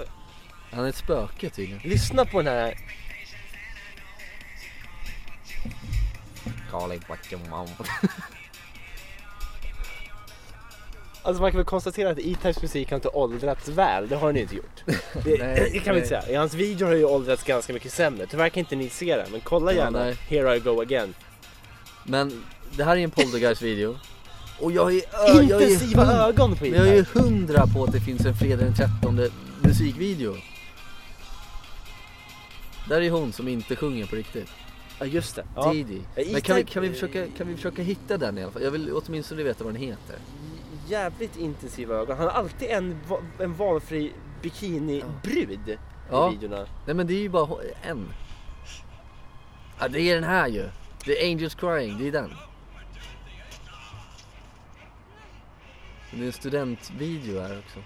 Han är ett spöke tydligen.
Lyssna på den här.
[LAUGHS]
Alltså man kan väl konstatera att E-Types musik har inte åldrats väl, det har den ju inte gjort. Det,
[LAUGHS] Nej,
det kan vi inte
nej.
säga. Hans videor har ju åldrats ganska mycket sämre. Tyvärr kan inte ni se det, men kolla
Ja,
gärna.
nej.
Here I go again.
Men det här är en poltergeist video. Och jag är... ö- jag är
Intensiva
hund-
ögon på
Men jag är ju
E-Type.
hundra på att det finns en fredag den 13 musikvideo. Där är hon som inte sjunger på riktigt.
Ja just det. Ja.
Didi.
Ja,
Men kan vi,
E-Type-
kan, vi försöka, kan vi försöka hitta den i alla fall? Jag vill åtminstone veta vad den heter.
Jävligt intensiva ögon. Han har alltid en, va- en valfri bikinibrud
Ja.
i videorna.
Nej men det är ju bara hon- en. Ja det är den här ju. The Angels Crying, det är den. Det är en studentvideo här också.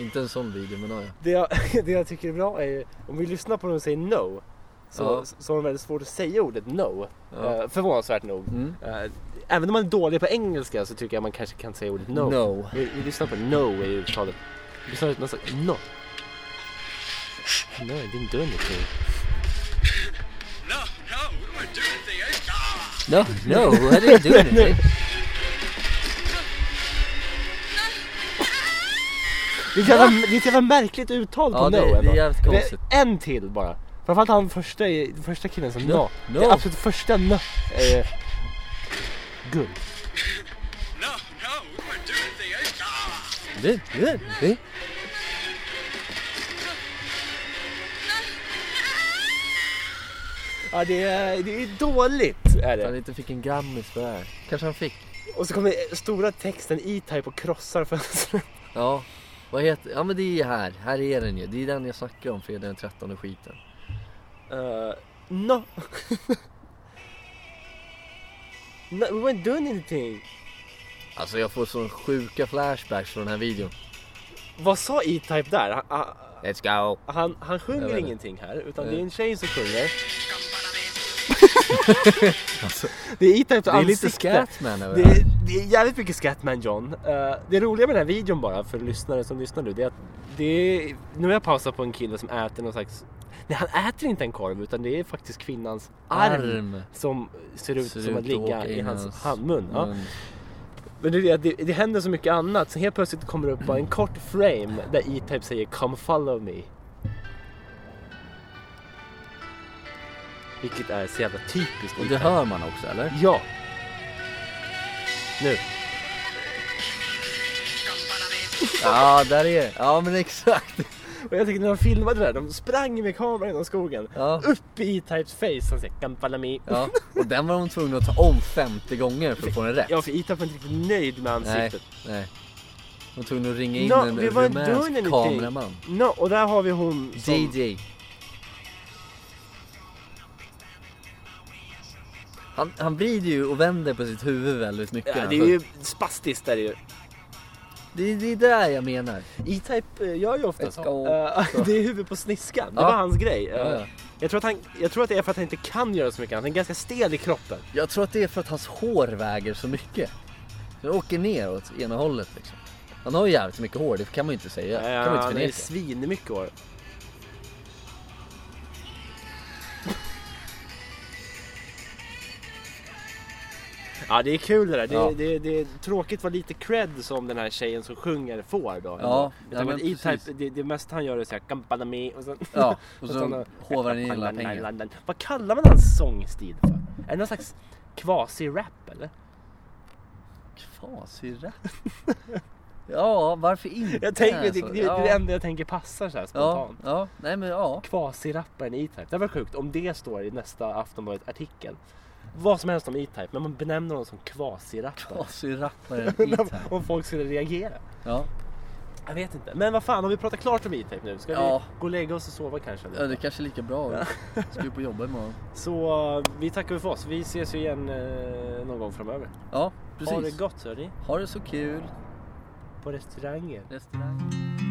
Inte en sån video men ja. ja.
Det jag, [LAUGHS] det jag tycker är bra är ju, om vi lyssnar på dem och säger no, så,
Ja.
så har de väldigt svårt att säga ordet no.
Ja.
Eh, förvånansvärt nog.
Mm.
Eh, även om man är dålig på engelska så tycker jag man kanske kan säga ordet no.
No. [LAUGHS]
Vi, vi lyssnar på no i uttalet. Vi lyssnar ut någon slags no. No, I didn't do anything.
No, no, we weren't doing anything. eh? Ah!
No, no, what are you doing?
Nej. Det är ett jävla, det är ett jävla märkligt uttal på
Ja,
no.
det- det är
ändå.
jävligt
Men
konstigt.
En till bara. Framförallt han första, i- första killen som no.
no.
Det absolut första no. Eh, guld.
No, no, we weren't doing anything. eh? Ah!
Det- det- det-
Ja, det är, det är dåligt. Är
Att Han
det.
inte fick en Grammis för det här. Kanske han fick.
Och så kommer stora texten E-Type och krossar fönstret.
Ja. Vad heter, ja men det är ju här. Här är den ju. Det är den jag snackar om, fredag den 13 skiten.
Eh, [LAUGHS] no. no. We weren't doing anything.
Alltså jag får sån sjuka flashbacks från den här videon.
Vad sa E-Type där? Han, han-
Let's go!
han, han
Jag
sjunger
vet inte.
ingenting här, utan
Nej.
det är en tjej som
[LAUGHS]
sjunger. Det är E-Types
Alltså, Det är lite
ansikte.
Scatman över
Det
det här.
är, det är jävligt mycket Scatman John. Eh, det roliga med den här videon bara för lyssnare som lyssnar nu, det är att det är, nu har jag pausat på en kille som äter någon slags, nej han äter inte en korv utan det är faktiskt kvinnans arm,
Arm.
som ser ut
Ser
som att
ut att
ligga
åka
i
in
hans
hans Mm.
handmun. Ja.
mun.
Men det, är det, att det, det händer så mycket annat så helt plötsligt kommer det upp bara en kort frame där E-Type säger “Come follow me”. Vilket är så jävla typiskt
Och det
E-Type.
hör man också eller?
Ja. Nu.
Ja, där är det. Ja men exakt.
Och jag tyckte när de filmade det där, de sprang med kameran genom skogen.
Ja.
Upp i E-Types face, han säger “Come follow me”.
Ja. Och den var de tvungna att ta om 50 gånger för att få den rätt.
Ja, för E-Type var inte riktigt nöjd med
Nej,
ansiktet.
nej. De var tvungna att ringa in
No,
en
we weren't doing
rumänsk
anything.
kameraman.
No, och där har vi hon som...
DJ. Han, han vrider ju och vänder på sitt huvud väldigt mycket.
Ja, det
alltså.
är ju spastiskt där ju.
det, det är där jag menar.
E-Type eh, gör ju ofta så.
Let's go.
Eh, [LAUGHS] det är huvudet på sniskan, det
Ja.
var hans grej. Eh,
Ja, ja.
Jag, tror att han, jag tror att det är för att han inte kan göra så mycket annat, han är ganska stel i kroppen.
Jag tror att det är för att hans hår väger så mycket. Så det åker ner åt ena hållet liksom. Han har ju jävligt mycket hår, det kan man ju inte säga. Det kan
Eh,
man ju
han
inte
är ju
förneka.
svinmycket hår. [LAUGHS] Ja det är kul det där. Det,
Ja.
det, det är tråkigt vad lite cred som den här tjejen som sjunger får då.
Ja,
Utan
ja,
att
men
E-Type,
precis.
det, det mesta han gör är såhär kampanami och sen... [LAUGHS]
Ja, och
och sen,
så hovar han
[LAUGHS]
in hela pengen.
Vad kallar man hans sångstil för? Är det någon slags quasi-rap eller?
Kvasirap. [LAUGHS] Ja, varför inte?
Jag tänker, det,
alltså?
det, det är det
ja.
enda jag tänker passar så här
ja,
spontant.
ja, nej men ja.
Quasi-rapparen E-Type. Det var sjukt om det står i nästa Aftonbladet-artikel. Vad som helst om E-Type, men man benämner honom som quasi-rappare.
Quasi-rapparen
[LAUGHS] Undrar
E-Type.
om folk skulle reagera.
Ja,
Jag vet inte. Men vad fan, om vi pratar klart om E-Type nu. Ska
Ja.
vi gå och lägga oss och sova kanske?
ja, det är kanske är lika bra. Ska ju på jobbet imorgon.
Så eh, vi tackar för oss. Vi ses ju igen eh, någon gång framöver.
Ja,
Ha det
precis.
gott hörni.
Ha det så kul.
På restaurangen.
Restaurang.